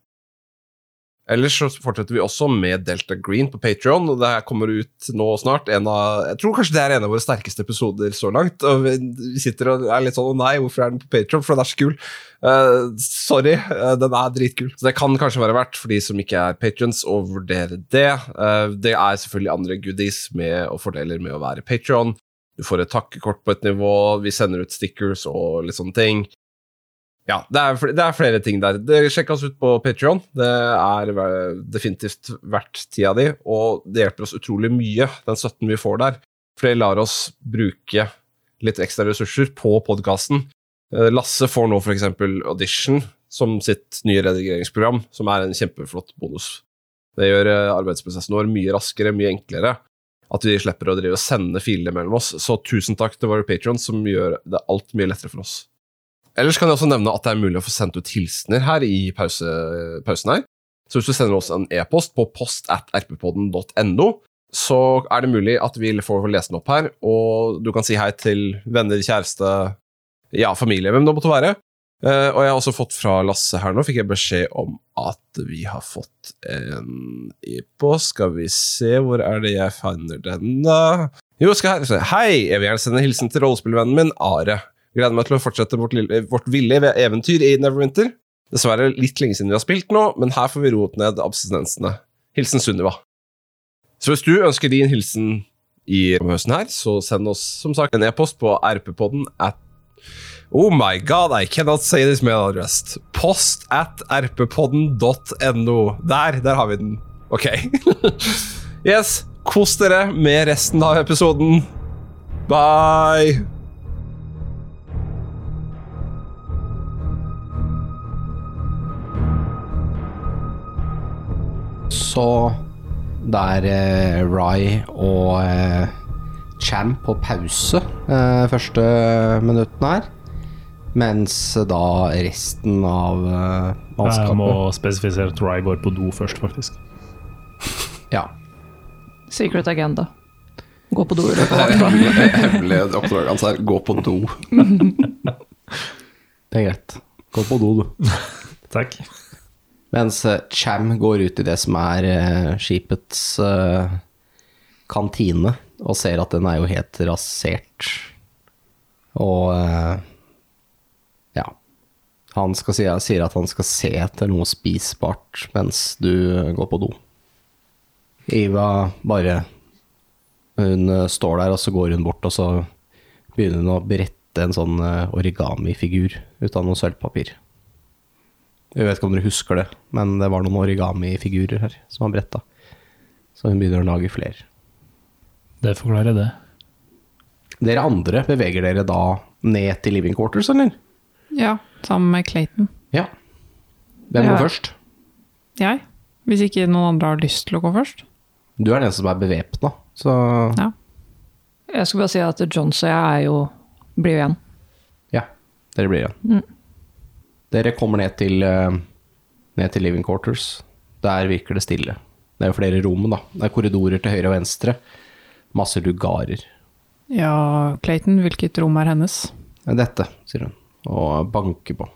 Ellers så fortsetter vi også med Delta Green på Patreon, og det her kommer ut nå snart. En av, jeg tror kanskje det er en av våre sterkeste episoder så langt. og Vi vi sitter og er litt sånn 'Å nei, hvorfor er den på Patreon? For den er så kul'. Eh, sorry, eh, den er dritkul. Så det kan kanskje være verdt for de som ikke er patrons å vurdere det. Eh, det er selvfølgelig andre goodies med, og fordeler med å være patron. Du får et takkekort på et nivå, vi sender ut stickers og litt sånne ting. Ja, det er, fl- det er flere ting der. Det- Sjekk oss ut på Patreon. Det er ver- definitivt verdt tida di, og det hjelper oss utrolig mye, den støtten vi får der. For det lar oss bruke litt ekstra ressurser på podkasten. Eh, Lasse får nå f.eks. Audition som sitt nye redigeringsprogram, som er en kjempeflott bonus. Det gjør eh, arbeidsprosessen vår mye raskere, mye enklere. At vi slipper å drive og sende filer mellom oss. Så tusen takk til våre patrons, som gjør det alt mye lettere for oss. Ellers kan jeg også nevne at det er mulig å få sendt ut hilsener her i pause, pausen her. Så hvis du sender oss en e-post på post at rppodden.no, så er det mulig at vi får lese den opp her, og du kan si hei til venner, kjæreste, ja, familie, hvem det måtte være. Eh, og jeg har også fått fra Lasse her nå, fikk jeg beskjed om at vi har fått en e-post. Skal vi se, hvor er det jeg finner den, da? Jo, skal her. se. Hei, jeg vil gjerne sende en hilsen til rollespillvennen min, Are. Gleder meg til å fortsette vårt, lille, vårt ville ve- eventyr i Neverwinter. Dessverre litt lenge siden vi har spilt nå, men her får vi roet ned abstinensene. Hilsen Sunniva. Så hvis du ønsker din hilsen i høsten her, så send oss som sagt en e-post på rppodden at Oh my god, I cannot say this med all rest. Post at rppodden.no. Der, der har vi den. Ok. yes, kos dere med resten av episoden. Bye!
Så der eh, Rye og eh, Cham på pause eh, første minuttene her. Mens da resten av eh,
Jeg må
mannskapet
spesifisere at Rye går på do først, faktisk.
ja.
Secret agenda. Gå på do i løpet av
Hemmelige oppdrag hans er gå på do.
Det er greit. Gå på do, du.
Takk.
Mens eh, Cham går ut i det som er eh, skipets eh, kantine, og ser at den er jo helt rasert. Og eh, ja. Han skal si, sier at han skal se etter noe spisbart mens du går på do. Iva bare Hun eh, står der, og så går hun bort, og så begynner hun å brette en sånn eh, origamifigur ut av noe sølvpapir. Jeg vet ikke om dere husker det, men det var noen origamifigurer her som var bretta. Så hun begynner å lage flere.
Det forklarer det.
Dere andre beveger dere da ned til living quarters, eller?
Ja, sammen med Clayton.
Ja. Hvem
Ja.
går først?
Jeg? Hvis ikke noen andre har lyst til å gå først?
Du er den som er bevæpna, så
Ja.
Jeg skal bare si at Johns og jeg er jo blir jo igjen.
ja, dere blir igjen.
Mm.
Dere kommer ned til, eh, ned til living quarters. Der virker det stille. Det er jo flere rom, da. Det er korridorer til høyre og venstre. Masse lugarer.
Ja, Clayton, hvilket rom er hennes?
Det er Dette, sier hun, og banker på.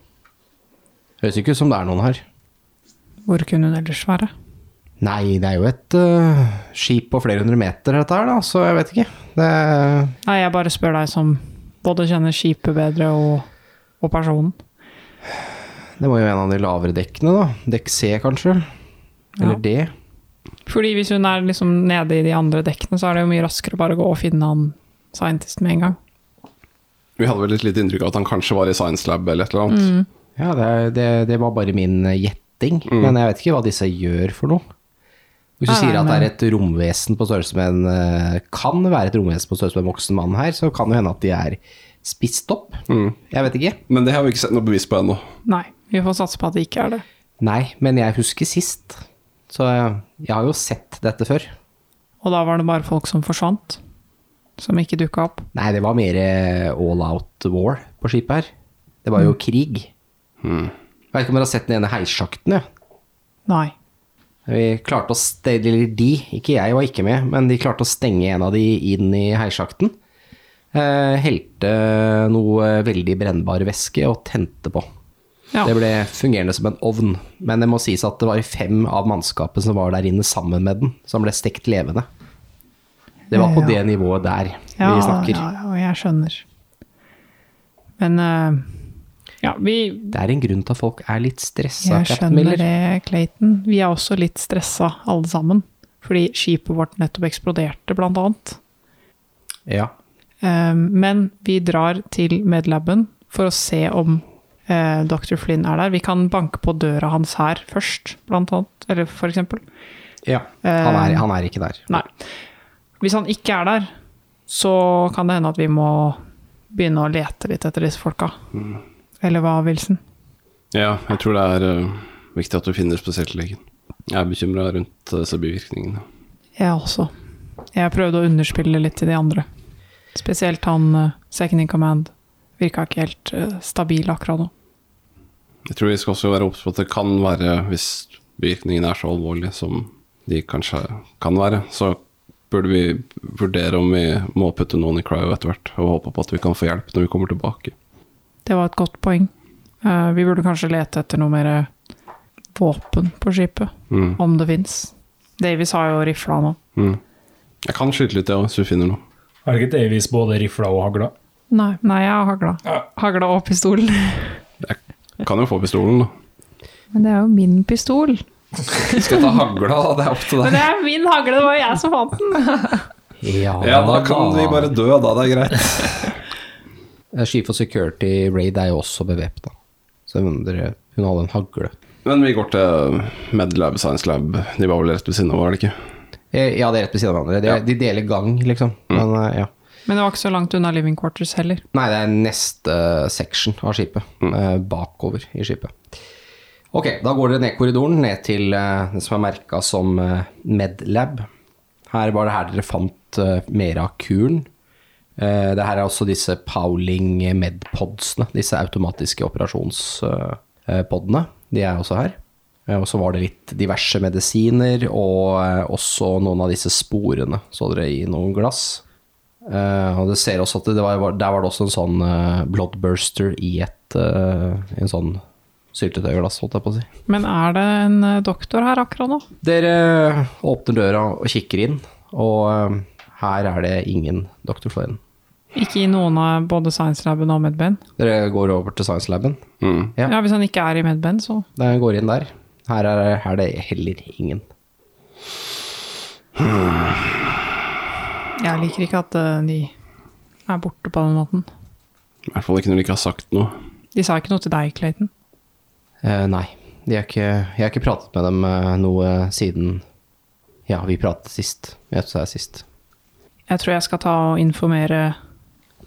Høres ikke ut som det er noen her.
Hvor kunne hun ellers være?
Nei, det er jo et eh, skip på flere hundre meter, dette her, da, så jeg vet ikke. Det
Nei, jeg bare spør deg som både kjenner skipet bedre og, og personen.
Det må jo være en av de lavere dekkene, da. Dekk C, kanskje? Eller
Ja.
D?
Fordi hvis hun er liksom nede i de andre dekkene, så er det jo mye raskere å bare gå og finne han scientist med en gang.
Vi hadde vel et lite inntrykk av at han kanskje var i science lab eller et eller annet.
Ja, det, er- det, det var bare min eh, gjetting,
Mm.
men jeg vet ikke hva disse gjør for noe. Hvis du
Nei,
sier at det er
men-
et romvesen på størrelse med en eh, Kan være et romvesen på størrelse med en voksen mann her, så kan det hende at de er spist opp.
Mm.
Jeg vet ikke.
Men det har vi ikke sett noe bevis på ennå.
Nei, vi får satse på at det ikke er det.
Nei, men jeg husker sist. Så jeg, jeg har jo sett dette før.
Og da var det bare folk som forsvant, som ikke dukka opp.
Nei, det var mer eh, all out war på skipet her. Det var jo krig. Jeg vet ikke om dere har sett den ene heissjakten, ja.
Nei.
Vi klarte å stenge, eller de, ikke jeg var ikke med, men de klarte å stenge en av de inn i heisjakten. Eh, helte noe veldig brennbar væske og tente på.
Ja.
Det ble fungerende som en ovn, men det må sies at det var fem av mannskapet som var der inne sammen med den, som ble stekt levende. Det var på
Ja.
det nivået der
Ja,
vi snakker.
ja, ja, jeg skjønner. Men eh, ja, vi
Det er en grunn til at folk er litt stressa,
Jeg
Captain
skjønner
Miller.
det, Clayton. Vi er også litt stressa, alle sammen. Fordi skipet vårt nettopp eksploderte, blant annet.
Ja.
Eh, Men vi drar til medlaben for å se om eh, dr. Flynn er der. Vi kan banke på døra hans her først, blant annet. Eller for eksempel.
ja. Han, er, han er ikke der.
Nei. Hvis han ikke er der, så kan det hende at vi må begynne å lete litt etter disse folka. Eller hva, Wilson?
Ja, jeg tror det er eh, viktig at du finner spesiallegen. Jeg er bekymra rundt eh, disse bivirkningene.
Jeg også. Jeg prøvde å underspille litt til de andre. Spesielt han eh, second in command. Virka ikke helt eh, stabil akkurat nå.
Jeg tror vi skal også være obs på at det kan være, hvis bivirkningene er så alvorlige som de kanskje kan være, så burde vi vurdere om vi må putte noen i cryo etter hvert, og håpe på at vi kan få hjelp når vi kommer tilbake.
Det var et godt poeng. Eh, vi burde kanskje lete etter noe mer eh, våpen på skipet,
Mm.
om det fins. Davies har jo rifla nå.
Mm. Jeg kan skyte litt, jeg òg, hvis du finner noe.
Har ikke Davies både rifla og hagla?
Nei, nei, jeg har hagla. Hagla og pistolen.
Kan jo få pistolen, da.
Men det er jo min pistol.
Skal jeg ta hagla, da? Det er opp til
Men det er min hagle, det var jo jeg som fant den.
Ja, da kan vi bare dø, da. Det er greit.
Skipet og Eh, security raid er jo også bevæpna. Så jeg undrer Hun hadde en hagle.
Men vi går til Medlab Science Lab. De var vel rett ved siden av, var det ikke?
Eh, Ja, det er rett ved siden av hverandre. De,
Ja. Mm.
de deler gang, liksom. Men, eh, ja.
Men det var ikke så langt unna living quarters heller.
Nei, det er neste section av skipet. eh, Bakover i skipet. Ok, da går dere ned korridoren, ned til eh, det som er merka som eh, Medlab. Her var det her dere fant eh, mer av kuren. Eh, Det her er også disse Powling Medpodsene, disse automatiske operasjonspodene. De er også her. Eh, Og så var det litt diverse medisiner, og eh, også noen av disse sporene så dere i noen glass. Eh, og det ser også at det var, var- der var det også en sånn eh, bloodburster i et eh, en sånn syltetøyglass, holdt jeg på å si.
Men er det en eh, doktor her akkurat nå?
Dere åpner døra og kikker inn, og eh, her er det ingen Dr. Flynn.
Ikke i noen av både science-laben og medben?
Dere går over til science laben.
Mm.
Ja. hvis han ikke er i medben, så
Dere går inn der. Her er, her er det heller ingen.
Jeg liker ikke at eh, de er borte på den måten.
I hvert fall ikke når de ikke har sagt noe.
De sa ikke noe til deg, Clayton.
Eh, nei, de er ikke, jeg har ikke pratet med dem eh, noe siden Ja, vi pratet sist. Jeg tror det er sist.
Jeg tror jeg skal ta og informere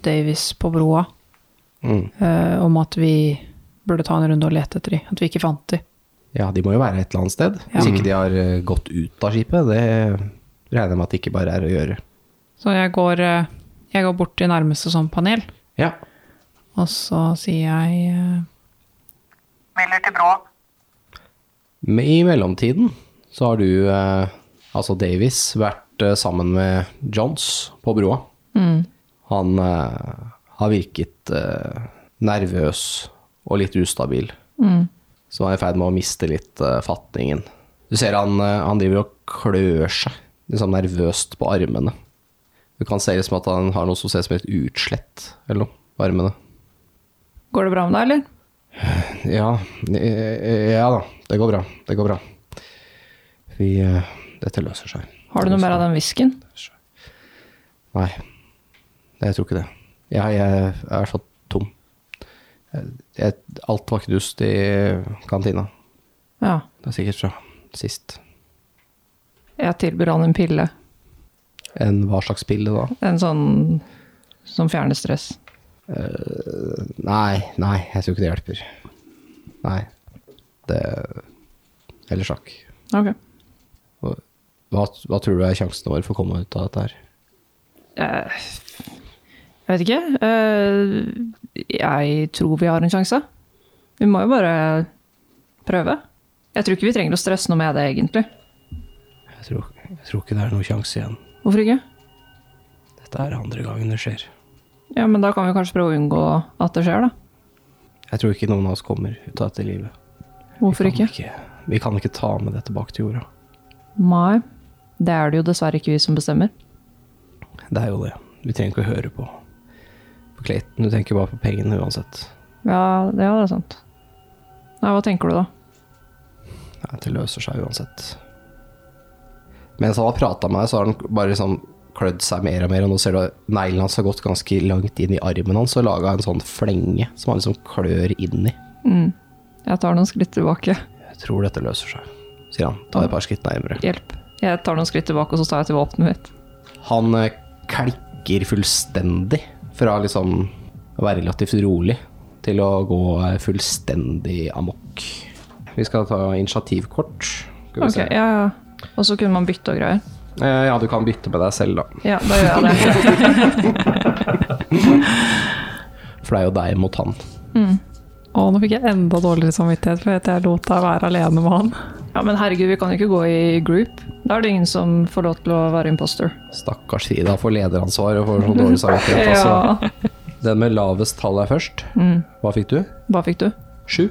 Davis på broa
Mm.
eh, om at vi burde ta en runde og lete etter de, at vi ikke fant de.
Ja, de må jo være et eller annet sted. Hvis
Ja.
ikke de har eh, gått ut av skipet. Det regner jeg med at det ikke bare er å gjøre.
Så jeg går, eh, jeg går bort til nærmeste sånn panel,
Ja.
og så sier jeg eh,
Miller til Brå.
Men I mellomtiden så har du, eh, altså Davis, vært eh, sammen med Johns på broa. Han eh, har virket eh, nervøs og litt ustabil. Så han er i ferd med å miste litt eh, fatningen. Du ser han, eh, han driver og klør seg liksom nervøst på armene. Du kan se liksom at han har noe som ser ut som et utslett eller noe på armene.
Går det bra med deg, eller?
Ja, eh, ja da. Det går bra. Det går bra. Vi eh, Dette løser seg.
Har du noe mer av den whiskyen?
Nei, jeg tror ikke det. Jeg, jeg er i hvert fall tom. Jeg, jeg, alt var knust i kantina.
Ja.
Det er sikkert fra sist.
Jeg tilbyr han en pille.
En hva slags pille da?
En sånn som fjerner stress.
Eh, Nei, nei, jeg tror ikke det hjelper. Nei. Det Eller sjakk.
Ok.
Hva, hva tror du er sjansene våre for å komme ut av dette her?
Eh, Jeg vet ikke. Eh, Jeg tror vi har en sjanse. Vi må jo bare prøve. Jeg tror ikke vi trenger å stresse noe med det, egentlig.
Jeg tror, jeg tror ikke det er noen sjanse igjen.
Hvorfor ikke?
Dette er andre gangen det skjer.
Ja, men da kan vi kanskje prøve å unngå at det skjer, da.
Jeg tror ikke noen av oss kommer ut av dette livet.
Hvorfor
Vi kan
ikke?
ikke- Vi kan ikke ta med det tilbake til jorda.
Nei, det er det jo dessverre ikke vi som bestemmer.
Det er jo det. Vi trenger ikke å høre på, på Clayton. Du tenker bare på pengene uansett.
Ja, det ja, det er sant. Nei, hva tenker du da?
Nei, det løser seg uansett. Mens han har prata med deg, så har han bare liksom klødd seg mer og mer, og nå ser du at neglen hans har gått ganske langt inn i armen hans og laga en sånn flenge som han liksom klør inn i.
Mm. Jeg tar noen skritt tilbake.
Jeg tror dette løser seg, sier han. Ta et par skritt nærmere.
Hjelp. Jeg tar noen skritt tilbake, og så tar jeg til våpenet mitt.
Han eh, klikker fullstendig fra liksom å være relativt rolig til å gå eh, fullstendig amok. Vi skal ta initiativkort. Skal vi
Ok,
se.
ja, ja. Og så kunne man bytte og greier.
Eh, ja, du kan bytte med deg selv, da.
Ja, da gjør jeg det.
For det er jo deg mot han.
Å, nå fikk jeg enda dårligere samvittighet for at jeg lot deg være alene med han.
Ja, men herregud, vi kan jo ikke gå i group. Da er det ingen som får lov til å være imposter.
Stakkars Frida får lederansvar og får så dårlig samvittighet. Altså.
Ja. Mm.
Den med lavest tall er først. Hva fikk du?
Hva fikk du?
Sju?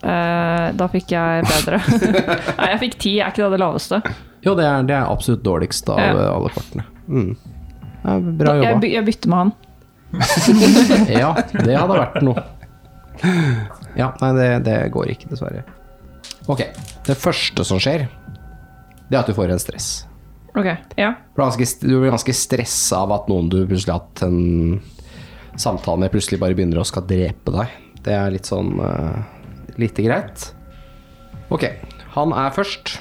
Eh, da fikk jeg bedre. Nei, jeg fikk ti, er ikke det det laveste?
Jo, det er, det er absolutt dårligst av
Ja.
eh, alle kortene. Mm. Ja, bra
Jeg,
jobba.
by jeg bytter med han.
Ja, det hadde vært noe. Ja, nei, det, det går ikke, dessverre. Ok, det første som skjer, det er at du får en stress.
Ok, ja.
Du blir ganske, du blir ganske stressa av at noen du plutselig har hatt en samtale med, plutselig bare begynner å skal drepe deg. Det er litt sånn eh, lite greit. Ok, han er først.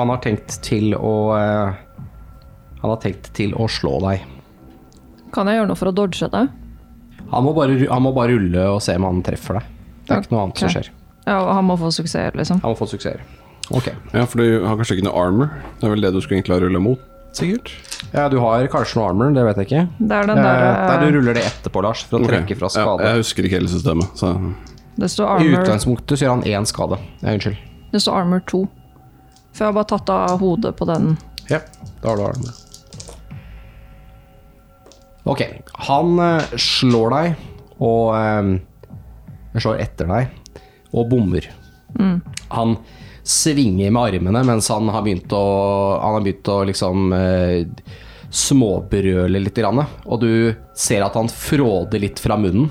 Han har tenkt til å eh, Han har tenkt til å slå deg.
Kan jeg gjøre noe for å dodge det?
Han må bare, han må bare rulle og se om han treffer deg. Det er ikke noe annet som
Ok.
skjer.
Ja, og han må få suksess, liksom.
Han må få suksesser. Ok.
Ja, for du har kanskje ikke noe armor? Det er vel det du skulle egentlig ha rulla mot, sikkert?
Ja, du har kanskje noe armor, det vet jeg ikke.
Det er den
Eh,
der, eh,
Nei, du ruller det etterpå, Lars, for å
Ok.
trekke fra skade.
Ja, jeg husker ikke hele systemet, så
eh, Det står
I
armor,
utgangspunktet så gjør han én skade. Nei, unnskyld.
det står armor 2. For jeg har bare tatt av hodet på den.
Ja, da har du armor. Ok, han eh, slår deg og eh, slår etter deg og bommer. Han svinger med armene mens han har begynt å, han har begynt å liksom eh, småbrøler litt, grann, og du ser at han fråder litt fra munnen.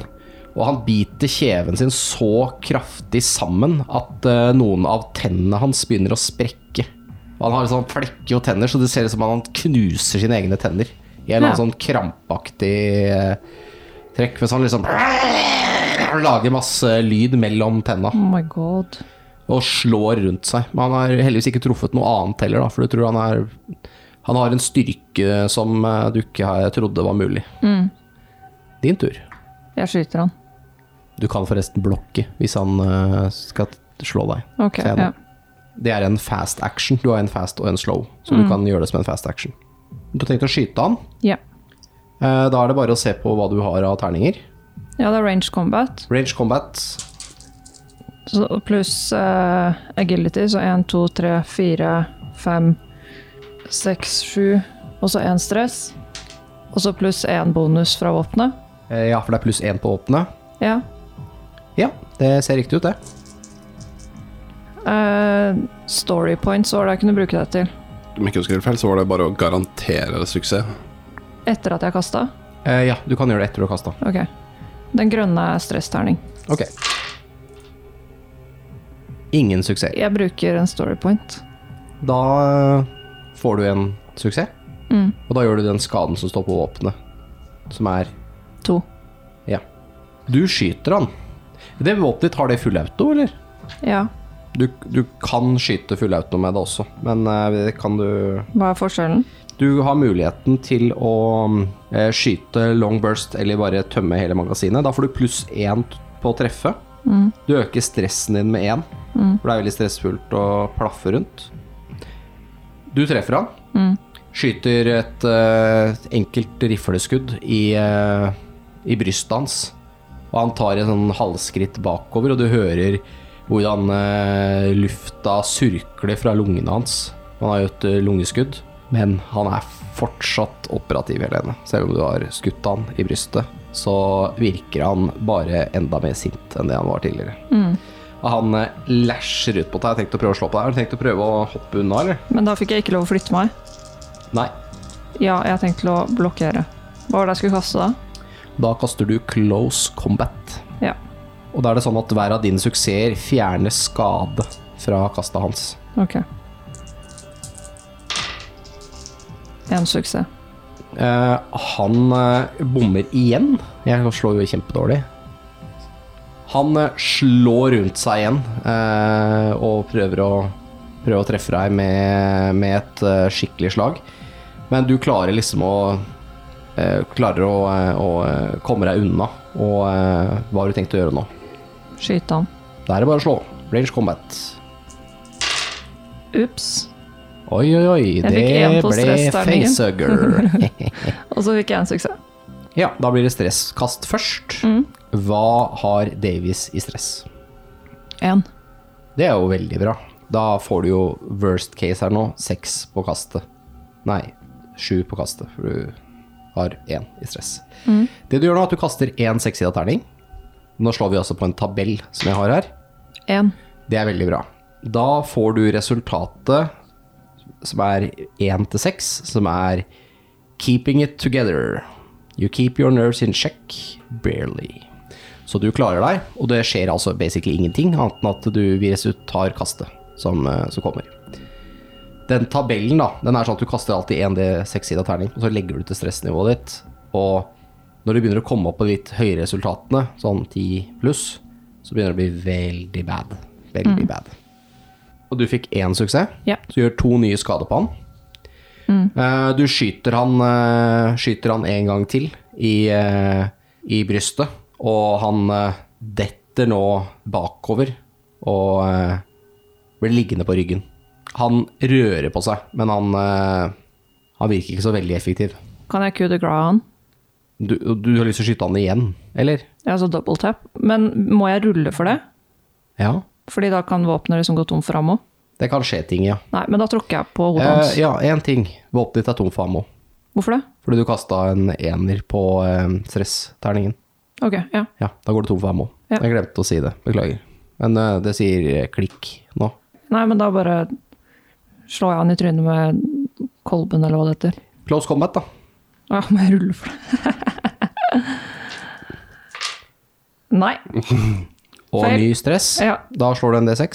Og han biter kjeven sin så kraftig sammen at eh, noen av tennene hans begynner å sprekke. Og han har sånn flekker og tenner, så det ser ut som om han knuser sine egne tenner. I en eller annen
Ja.
sånn krampaktig eh, trekk, mens han liksom lager masse lyd mellom tenna
Oh my god.
og slår rundt seg. Men han har heldigvis ikke truffet noe annet heller, da, for du tror han er Han har en styrke som eh, du ikke har- trodde var mulig.
Mm.
Din tur.
Jeg skyter han.
Du kan forresten blokke hvis han eh, skal slå deg.
Ok,
Sen.
ja.
Det er en fast action. Du har en fast og en slow, så du
Mm.
kan gjøre det som en fast action. Du tenkte å skyte han.
Ja.
Eh, Da er det bare å se på hva du har av terninger.
ja, det er range combat.
Range combat.
Så pluss eh, agility, så 1, 2, 3, 4, 5, 6, 7, og så 1 stress. Og så pluss 1 bonus fra våpenet.
Eh, Ja, for det er pluss én på våpenet.
Ja.
Ja, det ser riktig ut, det.
Eh, story points, hva var det jeg kunne bruke det til?
Om jeg ikke husker helt feil, så var det bare å garantere suksess.
Etter at jeg kasta?
Eh, Ja, du kan gjøre det etter du har kasta.
Ok. Den grønne er stressterning.
Ok. Ingen suksess.
Jeg bruker en story point.
Da eh, får du en suksess,
Mm.
og da gjør du den skaden som står på våpenet, som er
To.
Ja. Du skyter han. Det våpenet ditt, har det full auto, eller?
Ja.
Du, du kan skyte full auto med det også, men eh, det kan du
Hva er forskjellen?
Du har muligheten til å mm, eh, skyte long burst eller bare tømme hele magasinet. Da får du pluss én t- på å treffe.
Mm.
Du øker stressen din med én,
Mm.
for det er veldig stressfullt å plaffe rundt. Du treffer han.
Mm.
Skyter et eh, enkelt rifleskudd i, eh, i brystet hans. Og han tar en sånn halvskritt bakover, og du hører hvordan eh, lufta surkler fra lungene hans. Han har jo et eh, lungeskudd, men han er fortsatt operativ, Helene. Selv om du har skutt han i brystet, så virker han bare enda mer sint enn det han var tidligere.
Mm.
Og han eh, lasher ut på deg. Jeg har tenkt å prøve å slå på deg. Har du tenkt å prøve å hoppe unna, eller?
Men da fikk jeg ikke lov å flytte meg.
Nei.
Ja, jeg har tenkt til å blokkere. Hva var det jeg skulle kaste da?
Da kaster du close combat.
Ja.
Og da er det sånn at hver av dine suksesser fjerner skade fra kastet hans.
Ok. En suksess.
Eh, han eh, bommer igjen. Jeg slår jo kjempedårlig. Han eh, slår rundt seg igjen eh, og prøver å, prøver å treffe deg med, med et eh, skikkelig slag. Men du klarer liksom å eh, Klarer å, eh, å eh, komme deg unna. Og eh, hva har du tenkt å gjøre nå?
Skyte han.
Da er det bare å slå. Range combat.
Ups.
Oi, oi, oi.
Jeg
Det
fikk en på
ble
stressterningen.
facehugger.
Og så fikk jeg en suksess.
ja, da blir det stresskast først.
Mm.
Hva har Davies i stress?
En.
Det er jo veldig bra. Da får du jo worst case her nå. Seks på kastet. Nei, sju på kastet, for du har én i stress.
Mm.
Det du gjør nå, er at du kaster én sekssida terning. Nå slår vi også på en tabell som jeg har her.
En.
Det er veldig bra. Da får du resultatet som er 1 til 6, som er Keeping it together. You keep your nerves in check, barely. Så du klarer deg, og det skjer altså basically ingenting, annet enn at du vires ut tar kastet som, eh, som kommer. Den tabellen da, den er sånn at du kaster alltid en D6-sida terning, og så legger du til stressnivået ditt. Og når du begynner å komme opp på de litt høyere resultatene, sånn 10 pluss, så begynner det å bli veldig bad. Veldig bad. Og du fikk én suksess,
Ja.
så du gjør to nye skader på han. Eh, Du skyter han, eh, skyter han en gang til i, eh, i brystet, og han eh, detter nå bakover og eh, blir liggende på ryggen. Han rører på seg, men han, eh, han virker ikke så veldig effektiv.
Kan jeg coup de grace han?
Du, du har lyst til å skyte han igjen, eller?
Ja, så double tap. Men må jeg rulle for det?
Ja.
Fordi da kan våpenet liksom gå tom for ammo.
Det kan skje ting, ja.
Nei, men da tråkker jeg på hodet hans.
Eh, ja, én ting. Våpenet ditt er tom for ammo.
Hvorfor det?
Fordi du kasta en ener på eh, stressterningen.
Ok, ja.
Ja, da går det tom for ammo.
Ja.
Jeg glemte å si det. Beklager. Men eh, det sier eh, klikk nå.
Nei, men da bare slår jeg han i trynet med kolben, eller hva det heter.
Close combat, da.
Ja, må jeg rulle for det? Nei.
Og
Feil.
ny stress.
Ja.
Da slår du en D6,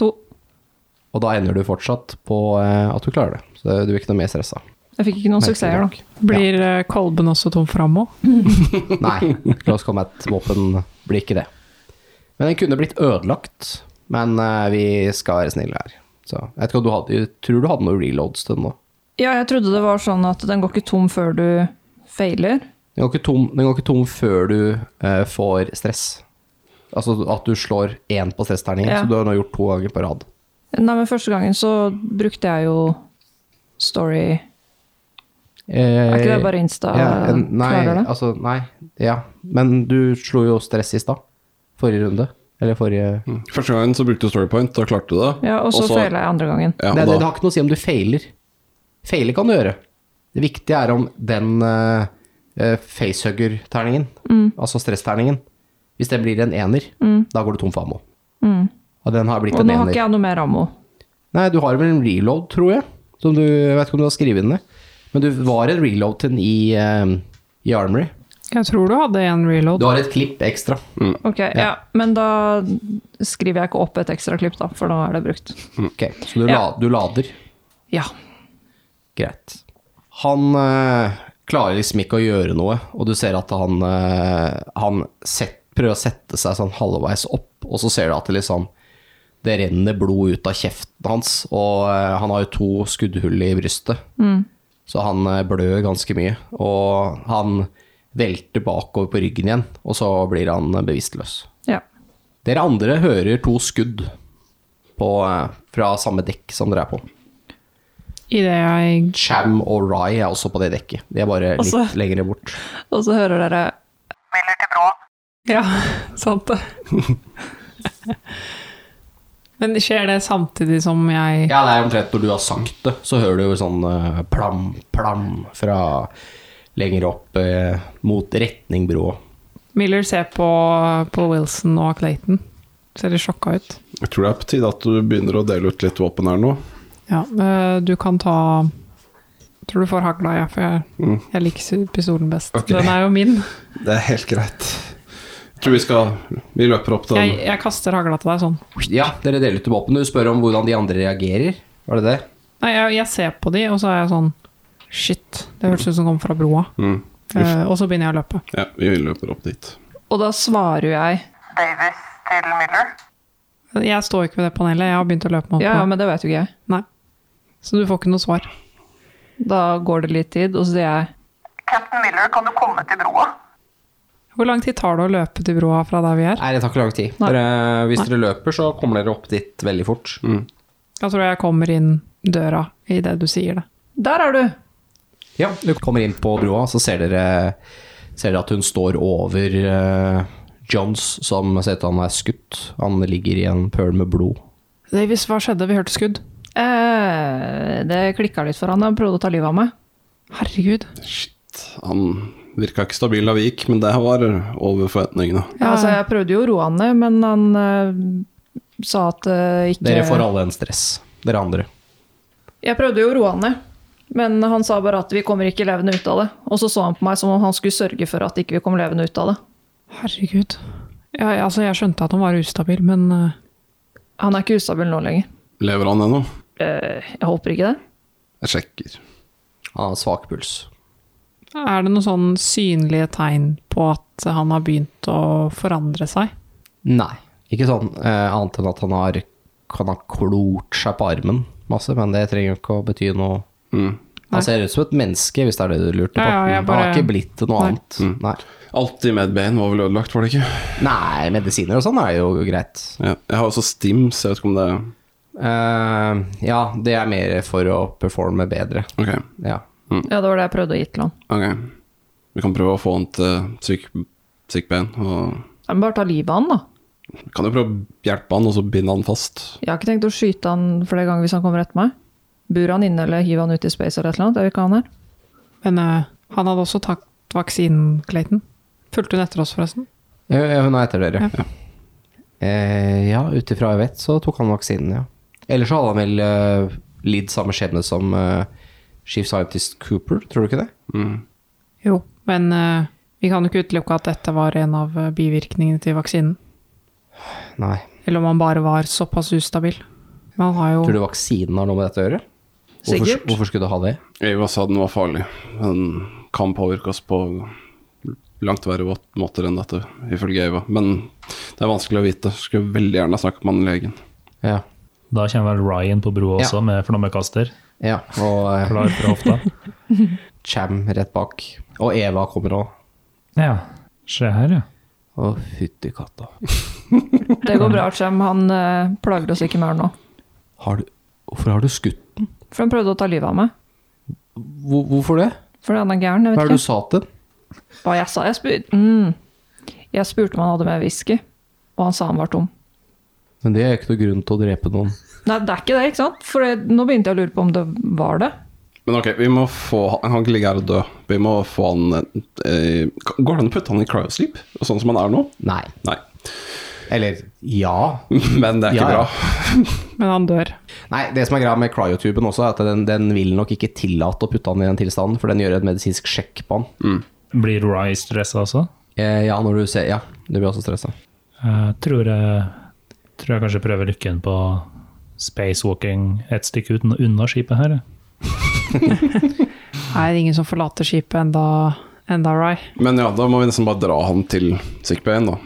To.
og da ender du fortsatt på eh, at du klarer det. Så det- du blir ikke noe mer stressa.
Jeg fikk ikke noen
Merkelig
suksesser,
nok.
da.
Blir eh, kolben også tom fram òg?
Nei, close combat-våpen blir ikke det. Men den kunne blitt ødelagt, men eh, vi skal være snille her. Så jeg vet ikke om du hadde, jeg tror du hadde noen reloads til den nå.
Ja, jeg trodde det var sånn at den går ikke tom før du feiler.
Den går ikke tom, den går ikke tom før du eh, får stress. Altså at du slår én på stressterningen,
Ja.
så du har nå gjort to ganger på rad.
Nei, men første gangen så brukte jeg jo story
Eh,
Er ikke det bare Insta
ja, en- nei,
klarer det?
altså, nei, ja. Men du slo jo stress i stad. Forrige runde. Eller forrige
Mm. Første gangen så brukte du Storypoint, da klarte du det.
altså,
Ja, og så feiler jeg andre gangen.
Ja, og
det, det, det
da,
har ikke noe å si om du feiler. Feiler kan du gjøre. Det viktige er om den eh, eh, facehugger-terningen,
Mm.
altså stressterningen, hvis det blir en ener, da går du tom for ammo. Og den har blitt
Mm. Og
en
nå har
ener.
ikke jeg noe mer ammo.
Nei, du har vel en reload, tror jeg. Som du, jeg vet ikke om du har skrevet den ned. Men du var en reload til den i, eh, i Armory. Mm.
Jeg tror du hadde en reload.
Du har et klipp ekstra.
Ok, ja. Men da skriver jeg ikke opp et ekstra klipp, da, for da er det brukt.
Ok, Mm. Så du,
Ja.
la, du lader.
Ja.
Greit. Han eh, klarer liksom ikke å gjøre noe, og du ser at han, eh, han set, prøver å sette seg sånn halvveis opp, og så ser du at det liksom det renner blod ut av kjeften hans, og eh, han har jo to skuddhull i brystet. Så han eh, blør ganske mye, og han velter bakover på ryggen igjen, og så blir han eh, bevisstløs.
ja.
Dere andre hører to skudd på, eh, fra samme dekk som dere er på.
Idet jeg
Cham og Rye er også på det dekket. De er bare litt
Altså-
lengre bort.
Og så hører dere
Miller til Brå.
Ja, sant det. Men skjer det samtidig som jeg
Ja, det er omtrent når du har sagt det, så hører du jo sånn eh, plam, plam fra lenger opp eh, mot retning brå.
Miller ser på, på Wilson og Clayton. Ser litt sjokka ut.
jeg tror det er på tide at du begynner å dele ut litt våpen her nå.
Ja, eh, du kan ta Tror du får hagla, ja, for jeg, jeg liker pistolen best.
Ok.
Den er jo min.
Det er helt greit. Jeg tror vi skal Vi løper opp den
Jeg, jeg kaster hagla til deg sånn.
Ja, dere deler ut våpenet. Du spør om hvordan de andre reagerer. Var det det?
Nei, jeg, jeg ser på de, og så er jeg sånn Shit, det hørtes ut som det kom fra broa.
Mm.
Eh, og så begynner jeg å løpe.
Ja, vi løper opp dit.
Og da svarer jeg
Davis til Miller.
Jeg står ikke ved det panelet, jeg har begynt å løpe mot
Ja, ja,
broa.
men det vet jo ikke jeg.
Nei. Så du får ikke noe svar.
Da går det litt tid, og så sier jeg
Captain Miller, kan du komme til broa?
Hvor lang tid tar det å løpe til broa fra der vi er?
Nei, det tar ikke lang tid.
Nei.
Dere, hvis
Nei.
dere løper, så kommer dere opp dit veldig fort.
Jeg tror jeg kommer inn døra idet du sier det.
Der er du!
Ja, du kommer inn på broa, så ser dere, ser dere at hun står over eh, Johns, som ser ut til han er skutt. Han ligger i en pøl med blod.
Davis, hva skjedde? Vi hørte skudd.
Eh, det klikka litt for han. Han prøvde å ta livet av meg.
Herregud.
Shit. Han virka ikke stabil da vi gikk, men det var over forventningene.
Ja, altså, jeg prøvde jo å roe han ned, men han eh, sa at eh, ikke
Dere får alle en stress, dere andre.
Jeg prøvde jo å roe han ned, men han sa bare at vi kommer ikke levende ut av det. Og så så han på meg som om han skulle sørge for at ikke vi kom levende ut av det.
Herregud. Ja, ja, altså, jeg skjønte at han var ustabil, men eh,
Han er ikke ustabil nå lenger.
Lever han ennå?
Eh, jeg håper ikke det.
Jeg sjekker.
Han har svak puls.
er det noen sånn synlige tegn på at han har begynt å forandre seg?
Nei, ikke sånn eh, annet enn at han har, han har klort seg på armen masse, men det trenger jo ikke å bety noe.
Mm.
Nei.
Han ser ut som et menneske, hvis det er det du lurte på.
Ja, ja, jeg
Han
bare-
har ikke blitt til noe
Nei.
annet. Nei.
Alt i Medbane var vel ødelagt, var det ikke?
Nei, medisiner og sånn er jo greit.
Ja. Jeg har også Stims, jeg vet ikke om det
Eh, ja, det er mer for å performe bedre.
Ok.
Ja.
Ja, det var det jeg prøvde å gi til han.
ok. Vi kan prøve å få han til syk, sykeben. Og
Ja, men bare ta livet av han, da.
vi kan jo prøve å hjelpe han, og så binde han fast.
Jeg har ikke tenkt å skyte han flere ganger hvis han kommer etter meg. Bur han inne eller hiver han ut i space eller et eller annet. Det vil ikke han her.
Men eh, han hadde også tatt vaksinen, Clayton. Fulgte hun etter oss, forresten?
Ja, ja, Hun er etter dere.
Ja.
Ja, eh, ja ut ifra jeg vet, så tok han vaksinen, ja. Ellers så hadde han vel eh, lidd samme skjebne som eh, Chief Scientist Cooper, tror du ikke det?
Jo, men eh, vi kan jo ikke utelukke at dette var en av eh, bivirkningene til vaksinen.
Nei.
Eller om han bare var såpass ustabil. Men han har jo
Tror du vaksinen har noe med dette å gjøre? Hvorfor,
Sikkert.
hvorfor skulle du ha det?
Eva sa den var farlig. Den kan påvirke oss på langt verre vå- måter enn dette, ifølge Eva. Men det er vanskelig å vite. Skulle veldig gjerne snakket med den legen.
Ja.
Da kommer vel Ryan på broa
Ja.
også med flammekaster.
ja og eh,
Klar fra hofta.
Cham rett bak. Og Eva kommer òg.
Ja. Se her, ja.
Å, fytti katta.
Det går bra, Chem. Han eh, plager oss ikke mer nå.
Har du, hvorfor har du skutt den?
For han prøvde å ta livet av meg.
Hvor, hvorfor det?
Fordi han er gæren. Jeg
Hva
vet
er det du
ikke
sa til den?
hva jeg sa. Jeg, spur mm. jeg spurte om han hadde med whisky, og han sa han var tom.
Men det er ikke noe grunn til å drepe noen.
Nei, det er ikke det, ikke sant? For det, nå begynte jeg å lure på om det var det.
Men ok, vi må få han- Han kan ikke ligge her og dø. Vi må få han eh, Går det an å putte han i cryosleep, sånn som han er nå?
Nei.
Nei.
Eller ja.
Men det er ikke
Ja, ja.
bra.
Men han dør.
Nei, det som er greia med cryotuben også, er at den, den vil nok ikke tillate å putte han i den tilstanden, for den gjør et medisinsk sjekk på han.
Blir Rye stressa også?
Eh, ja, når du ser Ja, du blir også stressa.
Jeg tror jeg, tror jeg kanskje prøver lykken på spacewalking et stykke uten, unna skipet her. jeg.
Er det ingen som forlater skipet enda, enda Rye?
Men ja, da må vi nesten bare dra han til sickbayen, da.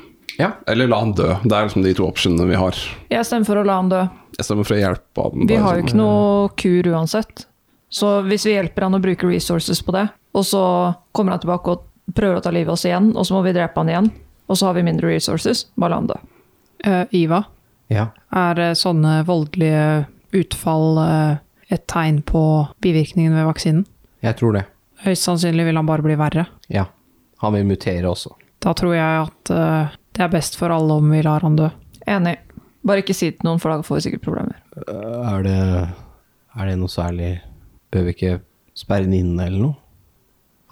Ja.
Eller la han dø. Det er liksom de to optionene vi har.
Jeg stemmer for å la han dø.
Jeg stemmer for å hjelpe han.
Vi
bare
har jo
sånn.
ikke noe kur uansett. Så hvis vi hjelper han å bruke resources på det, og så kommer han tilbake og prøver å ta livet av oss igjen, og så må vi drepe han igjen, og så har vi mindre resources, bare la han dø.
Eh, Iva?
ja.
Er eh, sånne voldelige utfall eh, et tegn på bivirkningen ved vaksinen?
Jeg tror det.
Høyst sannsynlig vil han bare bli verre.
Ja. Han vil mutere også.
Da tror jeg at eh, det er best for alle om vi lar han dø.
Enig. Bare ikke si det til noen, for da får vi sikkert problemer.
Eh, Er det Er det noe særlig Bør vi ikke sperre den inne, eller noe?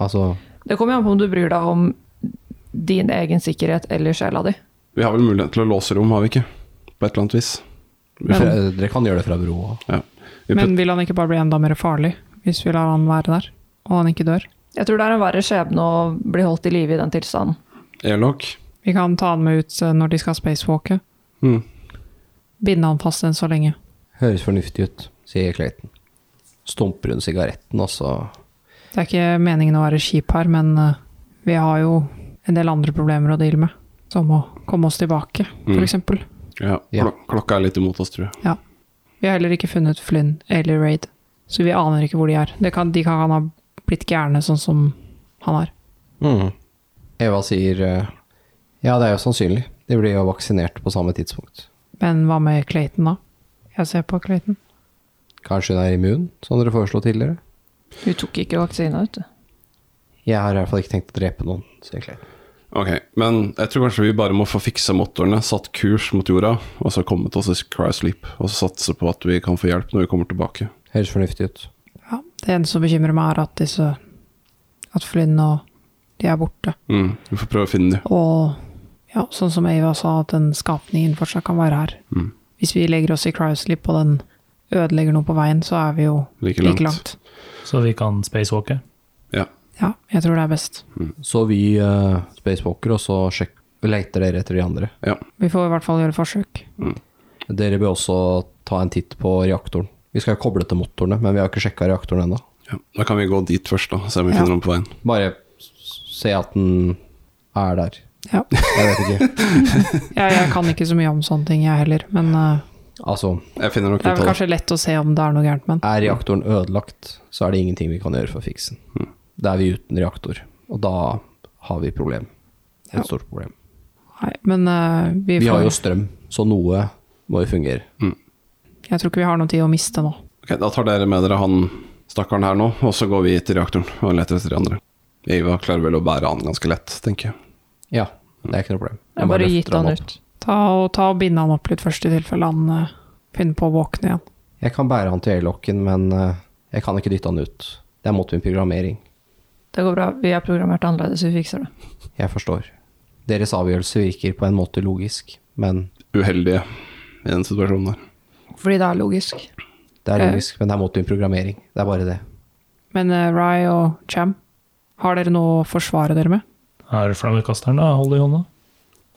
Altså
Det kommer jo an på om du bryr deg om din egen sikkerhet eller sjela di.
Vi har vel mulighet til å låse rom, har vi ikke? På et eller annet vis. Vi får,
dere- Dere kan gjøre det fra broa.
ja. vi putter,
Men vil han ikke bare bli enda mer farlig hvis vi lar han være der, og han ikke dør?
Jeg tror det er en verre skjebne å bli holdt i live i den tilstanden.
Elok?
Vi kan ta han med ut eh, når de skal spacewalke.
Mm.
Binde han fast enn så lenge.
Høres fornuftig ut, sier Clayton. Stumper hun sigaretten, og så
Det er ikke meningen å være kjip her, men eh, vi har jo en del andre problemer å deale med. Som å komme oss tilbake,
Mm.
f.eks. eksempel.
Ja.
Ja.
Klok klokka er litt imot oss, tror jeg.
Vi har heller ikke funnet Flynn eller Raid, så vi aner ikke hvor de er. Det kan, de kan ha blitt gærne, sånn som han er.
mm. Eva sier eh, Ja, det er jo sannsynlig. De blir jo vaksinert på samme tidspunkt.
Men hva med Clayton, da? Jeg ser på Clayton.
Kanskje hun er immun, som dere foreslo tidligere?
Hun tok ikke vaksina, vet du.
Jeg har i hvert fall ikke tenkt å drepe noen, sier Clayton.
Ok, Men jeg tror kanskje vi bare må få fiksa motorene, satt kurs mot jorda, og så kommet oss i Crysleep. Og så satse på at vi kan få hjelp når vi kommer tilbake.
Høres fornuftig ut.
Ja, det eneste som bekymrer meg, er at disse At Flynn og de er borte.
Mm. Vi får prøve å finne dem.
Og ja, sånn som Ava sa, at den skapningen fortsatt kan være her.
Mm.
Hvis vi legger oss i Cryoslip og den ødelegger noe på veien, så er vi jo
Like langt.
like langt.
Så vi kan spacewalke.
Ja.
Ja, jeg tror det er best.
Så vi eh, spacewalker, og så sjekk, leter dere etter de andre.
ja.
Vi får i hvert fall gjøre forsøk.
Dere bør også ta en titt på reaktoren. Vi skal jo koble til motorene, men vi har ikke sjekka reaktoren ennå.
ja. Da kan vi gå dit først, da. Se om vi
Ja.
finner dem på veien.
Bare s- se at den er der.
Ja.
Jeg vet ikke.
Ja, jeg kan ikke så mye om sånne ting, jeg heller. Men eh,
Altså,
Jeg finner nok
det er vel
ut av det.
kanskje lett å se om det er noe gærent med den.
er reaktoren ødelagt, så er det ingenting vi kan gjøre for å fikse den. Da er vi uten reaktor, og da har vi problem. Et
Ja.
stort problem.
Nei, men eh, vi
Vi har
får,
jo strøm, så noe må jo fungere.
jeg tror ikke vi har noe tid å miste nå.
Ok, Da tar dere med dere han stakkaren her nå, og så går vi til reaktoren og leter etter de andre. Eva klarer vel å bære han ganske lett, tenker jeg.
Ja, det er ikke noe problem.
Jeg bare
løfter
gitt han
opp.
ut.
Ta og, ta og binde han opp litt først, i tilfelle han eh, finner på å våkne igjen.
Jeg kan bære han til øyelokken, men eh, jeg kan ikke dytte han ut. Det er mot min programmering.
Det går bra. Vi er programmert annerledes, vi fikser det.
Jeg forstår. Deres avgjørelse virker på en måte logisk, men
Uheldige i den situasjonen der.
Fordi det er logisk.
det er
Ja.
logisk, men det er mot min programmering. Det er bare det.
Men eh, Rye og Cham, har dere noe å forsvare dere med?
Her flammekasteren, da. Hold det i hånda.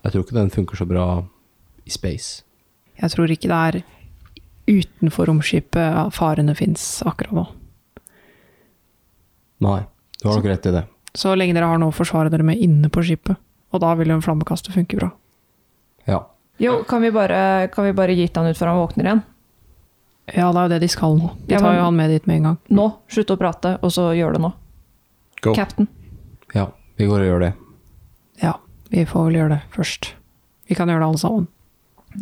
Jeg tror ikke den funker så bra i space.
Jeg tror ikke det er utenfor romskipet farene fins akkurat nå.
Nei, du har nok rett i det.
Så lenge dere har noe å forsvare dere med inne på skipet. Og da vil jo en flammekaster funke bra.
Ja.
Jo, kan vi bare, kan vi bare gitt han ut før han våkner igjen?
Ja, det er jo det de skal nå. De
Ja,
tar
men-
jo han med dit med en gang.
Nå, slutt å prate, og så gjør det nå.
Go.
Captain.
Ja, vi går og gjør det.
Ja, vi får vel gjøre det først. Vi kan gjøre det alle sammen.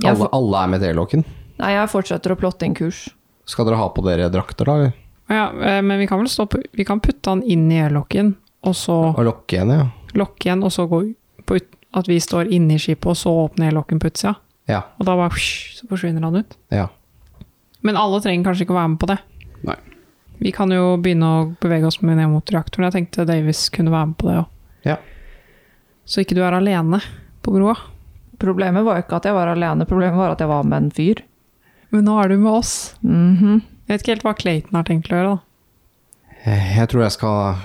Jeg,
Alle,
for,
alle er med drelokken.
nei, jeg fortsetter å plotte inn kurs.
Skal dere ha på dere drakter, da? eller?
Ja, eh, men vi kan vel stå på, vi kan putte han inn i airlocken, og så
Og lokke igjen, ja.
lokke igjen, og så gå ut- på ut, at vi står inne i skipet, og så åpne airlocken på utsida.
Ja.
Og da bare psh, så forsvinner han ut.
ja.
Men alle trenger kanskje ikke å være med på det.
Nei.
Vi kan jo begynne å bevege oss med ned mot reaktoren. Jeg tenkte Davis kunne være med på det òg.
Ja.
Så ikke du er alene på broa.
Problemet var ikke at jeg var alene, problemet var at jeg var med en fyr.
Men nå er du med oss.
Mhm.
Jeg vet ikke helt hva Clayton har tenkt å gjøre, da.
Eh, Jeg tror jeg skal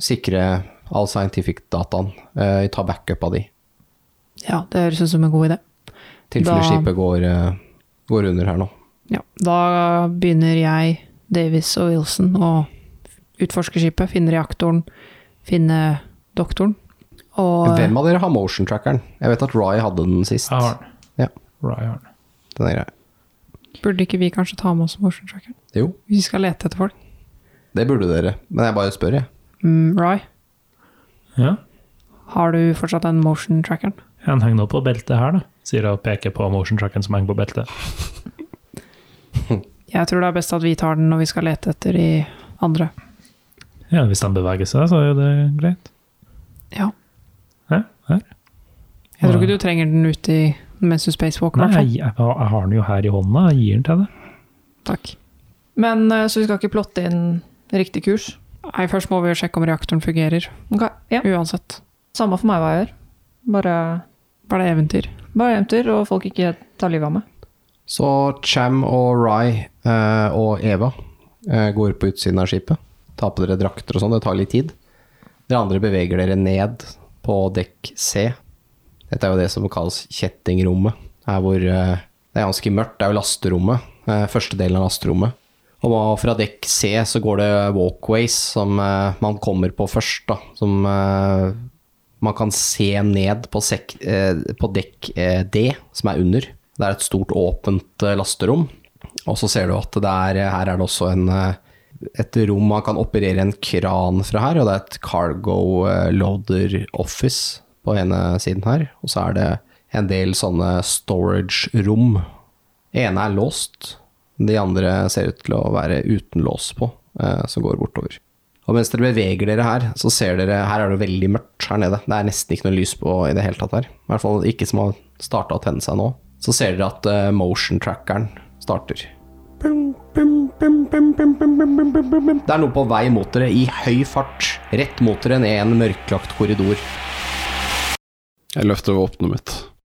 sikre all scientific-dataen. eh, ta backup av de.
Ja, det høres ut som en god idé.
Tilfelle
Da-
skipet går, eh, går under her nå.
Ja, da begynner jeg, Davis og Wilson å utforske skipet, finne reaktoren, finne doktoren. Og
Hvem av dere har motion trackeren? Jeg vet at Rye hadde den sist.
Jeg har
Ja,
den. Ryan.
den er grei.
burde ikke vi kanskje ta med oss motion tracker?
Jo,
Vi skal lete etter folk.
det burde dere. Men jeg bare spør, jeg.
Mm, Roy,
Ja.
har du fortsatt den motion trackeren?
Han henger nå på beltet her, da, sier jeg og peker på motion tracken som henger på beltet.
Jeg tror det er best at vi tar den når vi skal lete etter de andre.
Ja, Hvis han beveger seg, så er jo det greit.
Ja.
Hæ? Her?
Jeg tror ikke du trenger den ute i, mens du spacewalker, i
Nei,
hvert fall.
jeg, jeg, jeg har den jo her i hånda. Jeg gir den til deg.
Takk.
Men eh, Så vi skal ikke plotte inn riktig kurs?
Nei, først må vi jo sjekke om reaktoren fungerer,
Ok, ja.
uansett.
Samme for meg hva jeg gjør. Bare,
Var det eventyr?
bare hjem til, og folk ikke tar livet av meg.
Så Cham og Rye eh, og Eva eh, går på utsiden av skipet. Tar på dere drakter og sånn, det tar litt tid. Dere andre beveger dere ned på dekk C. Dette er jo det som kalles kjettingrommet. Her hvor eh, det er ganske mørkt, det er jo lasterommet. Eh, første delen av lasterommet. Og da fra dekk C så går det walkways som eh, man kommer på først, da. Som eh, man kan se ned på, sek, eh, på dekk eh, D, som er under. Det er et stort åpent eh, lasterom. Og så ser du at det er, her er det også en, eh, et rom man kan operere en kran fra her, og det er et cargo eh, loader office på ene siden her. Og så er det en del sånne storage-rom. Ene er låst, de andre ser ut til å være uten lås på, eh, som går bortover. Og mens dere beveger dere her, så ser dere Her er det veldig mørkt her nede. Det er nesten ikke noe lys på i det hele tatt her. I hvert fall ikke som har starta å tenne seg nå. Så ser dere at eh, motion trackeren starter. Det er noe på vei mot dere i høy fart. Rett mot dere ned en mørklagt korridor.
Jeg løfter våpenet mitt.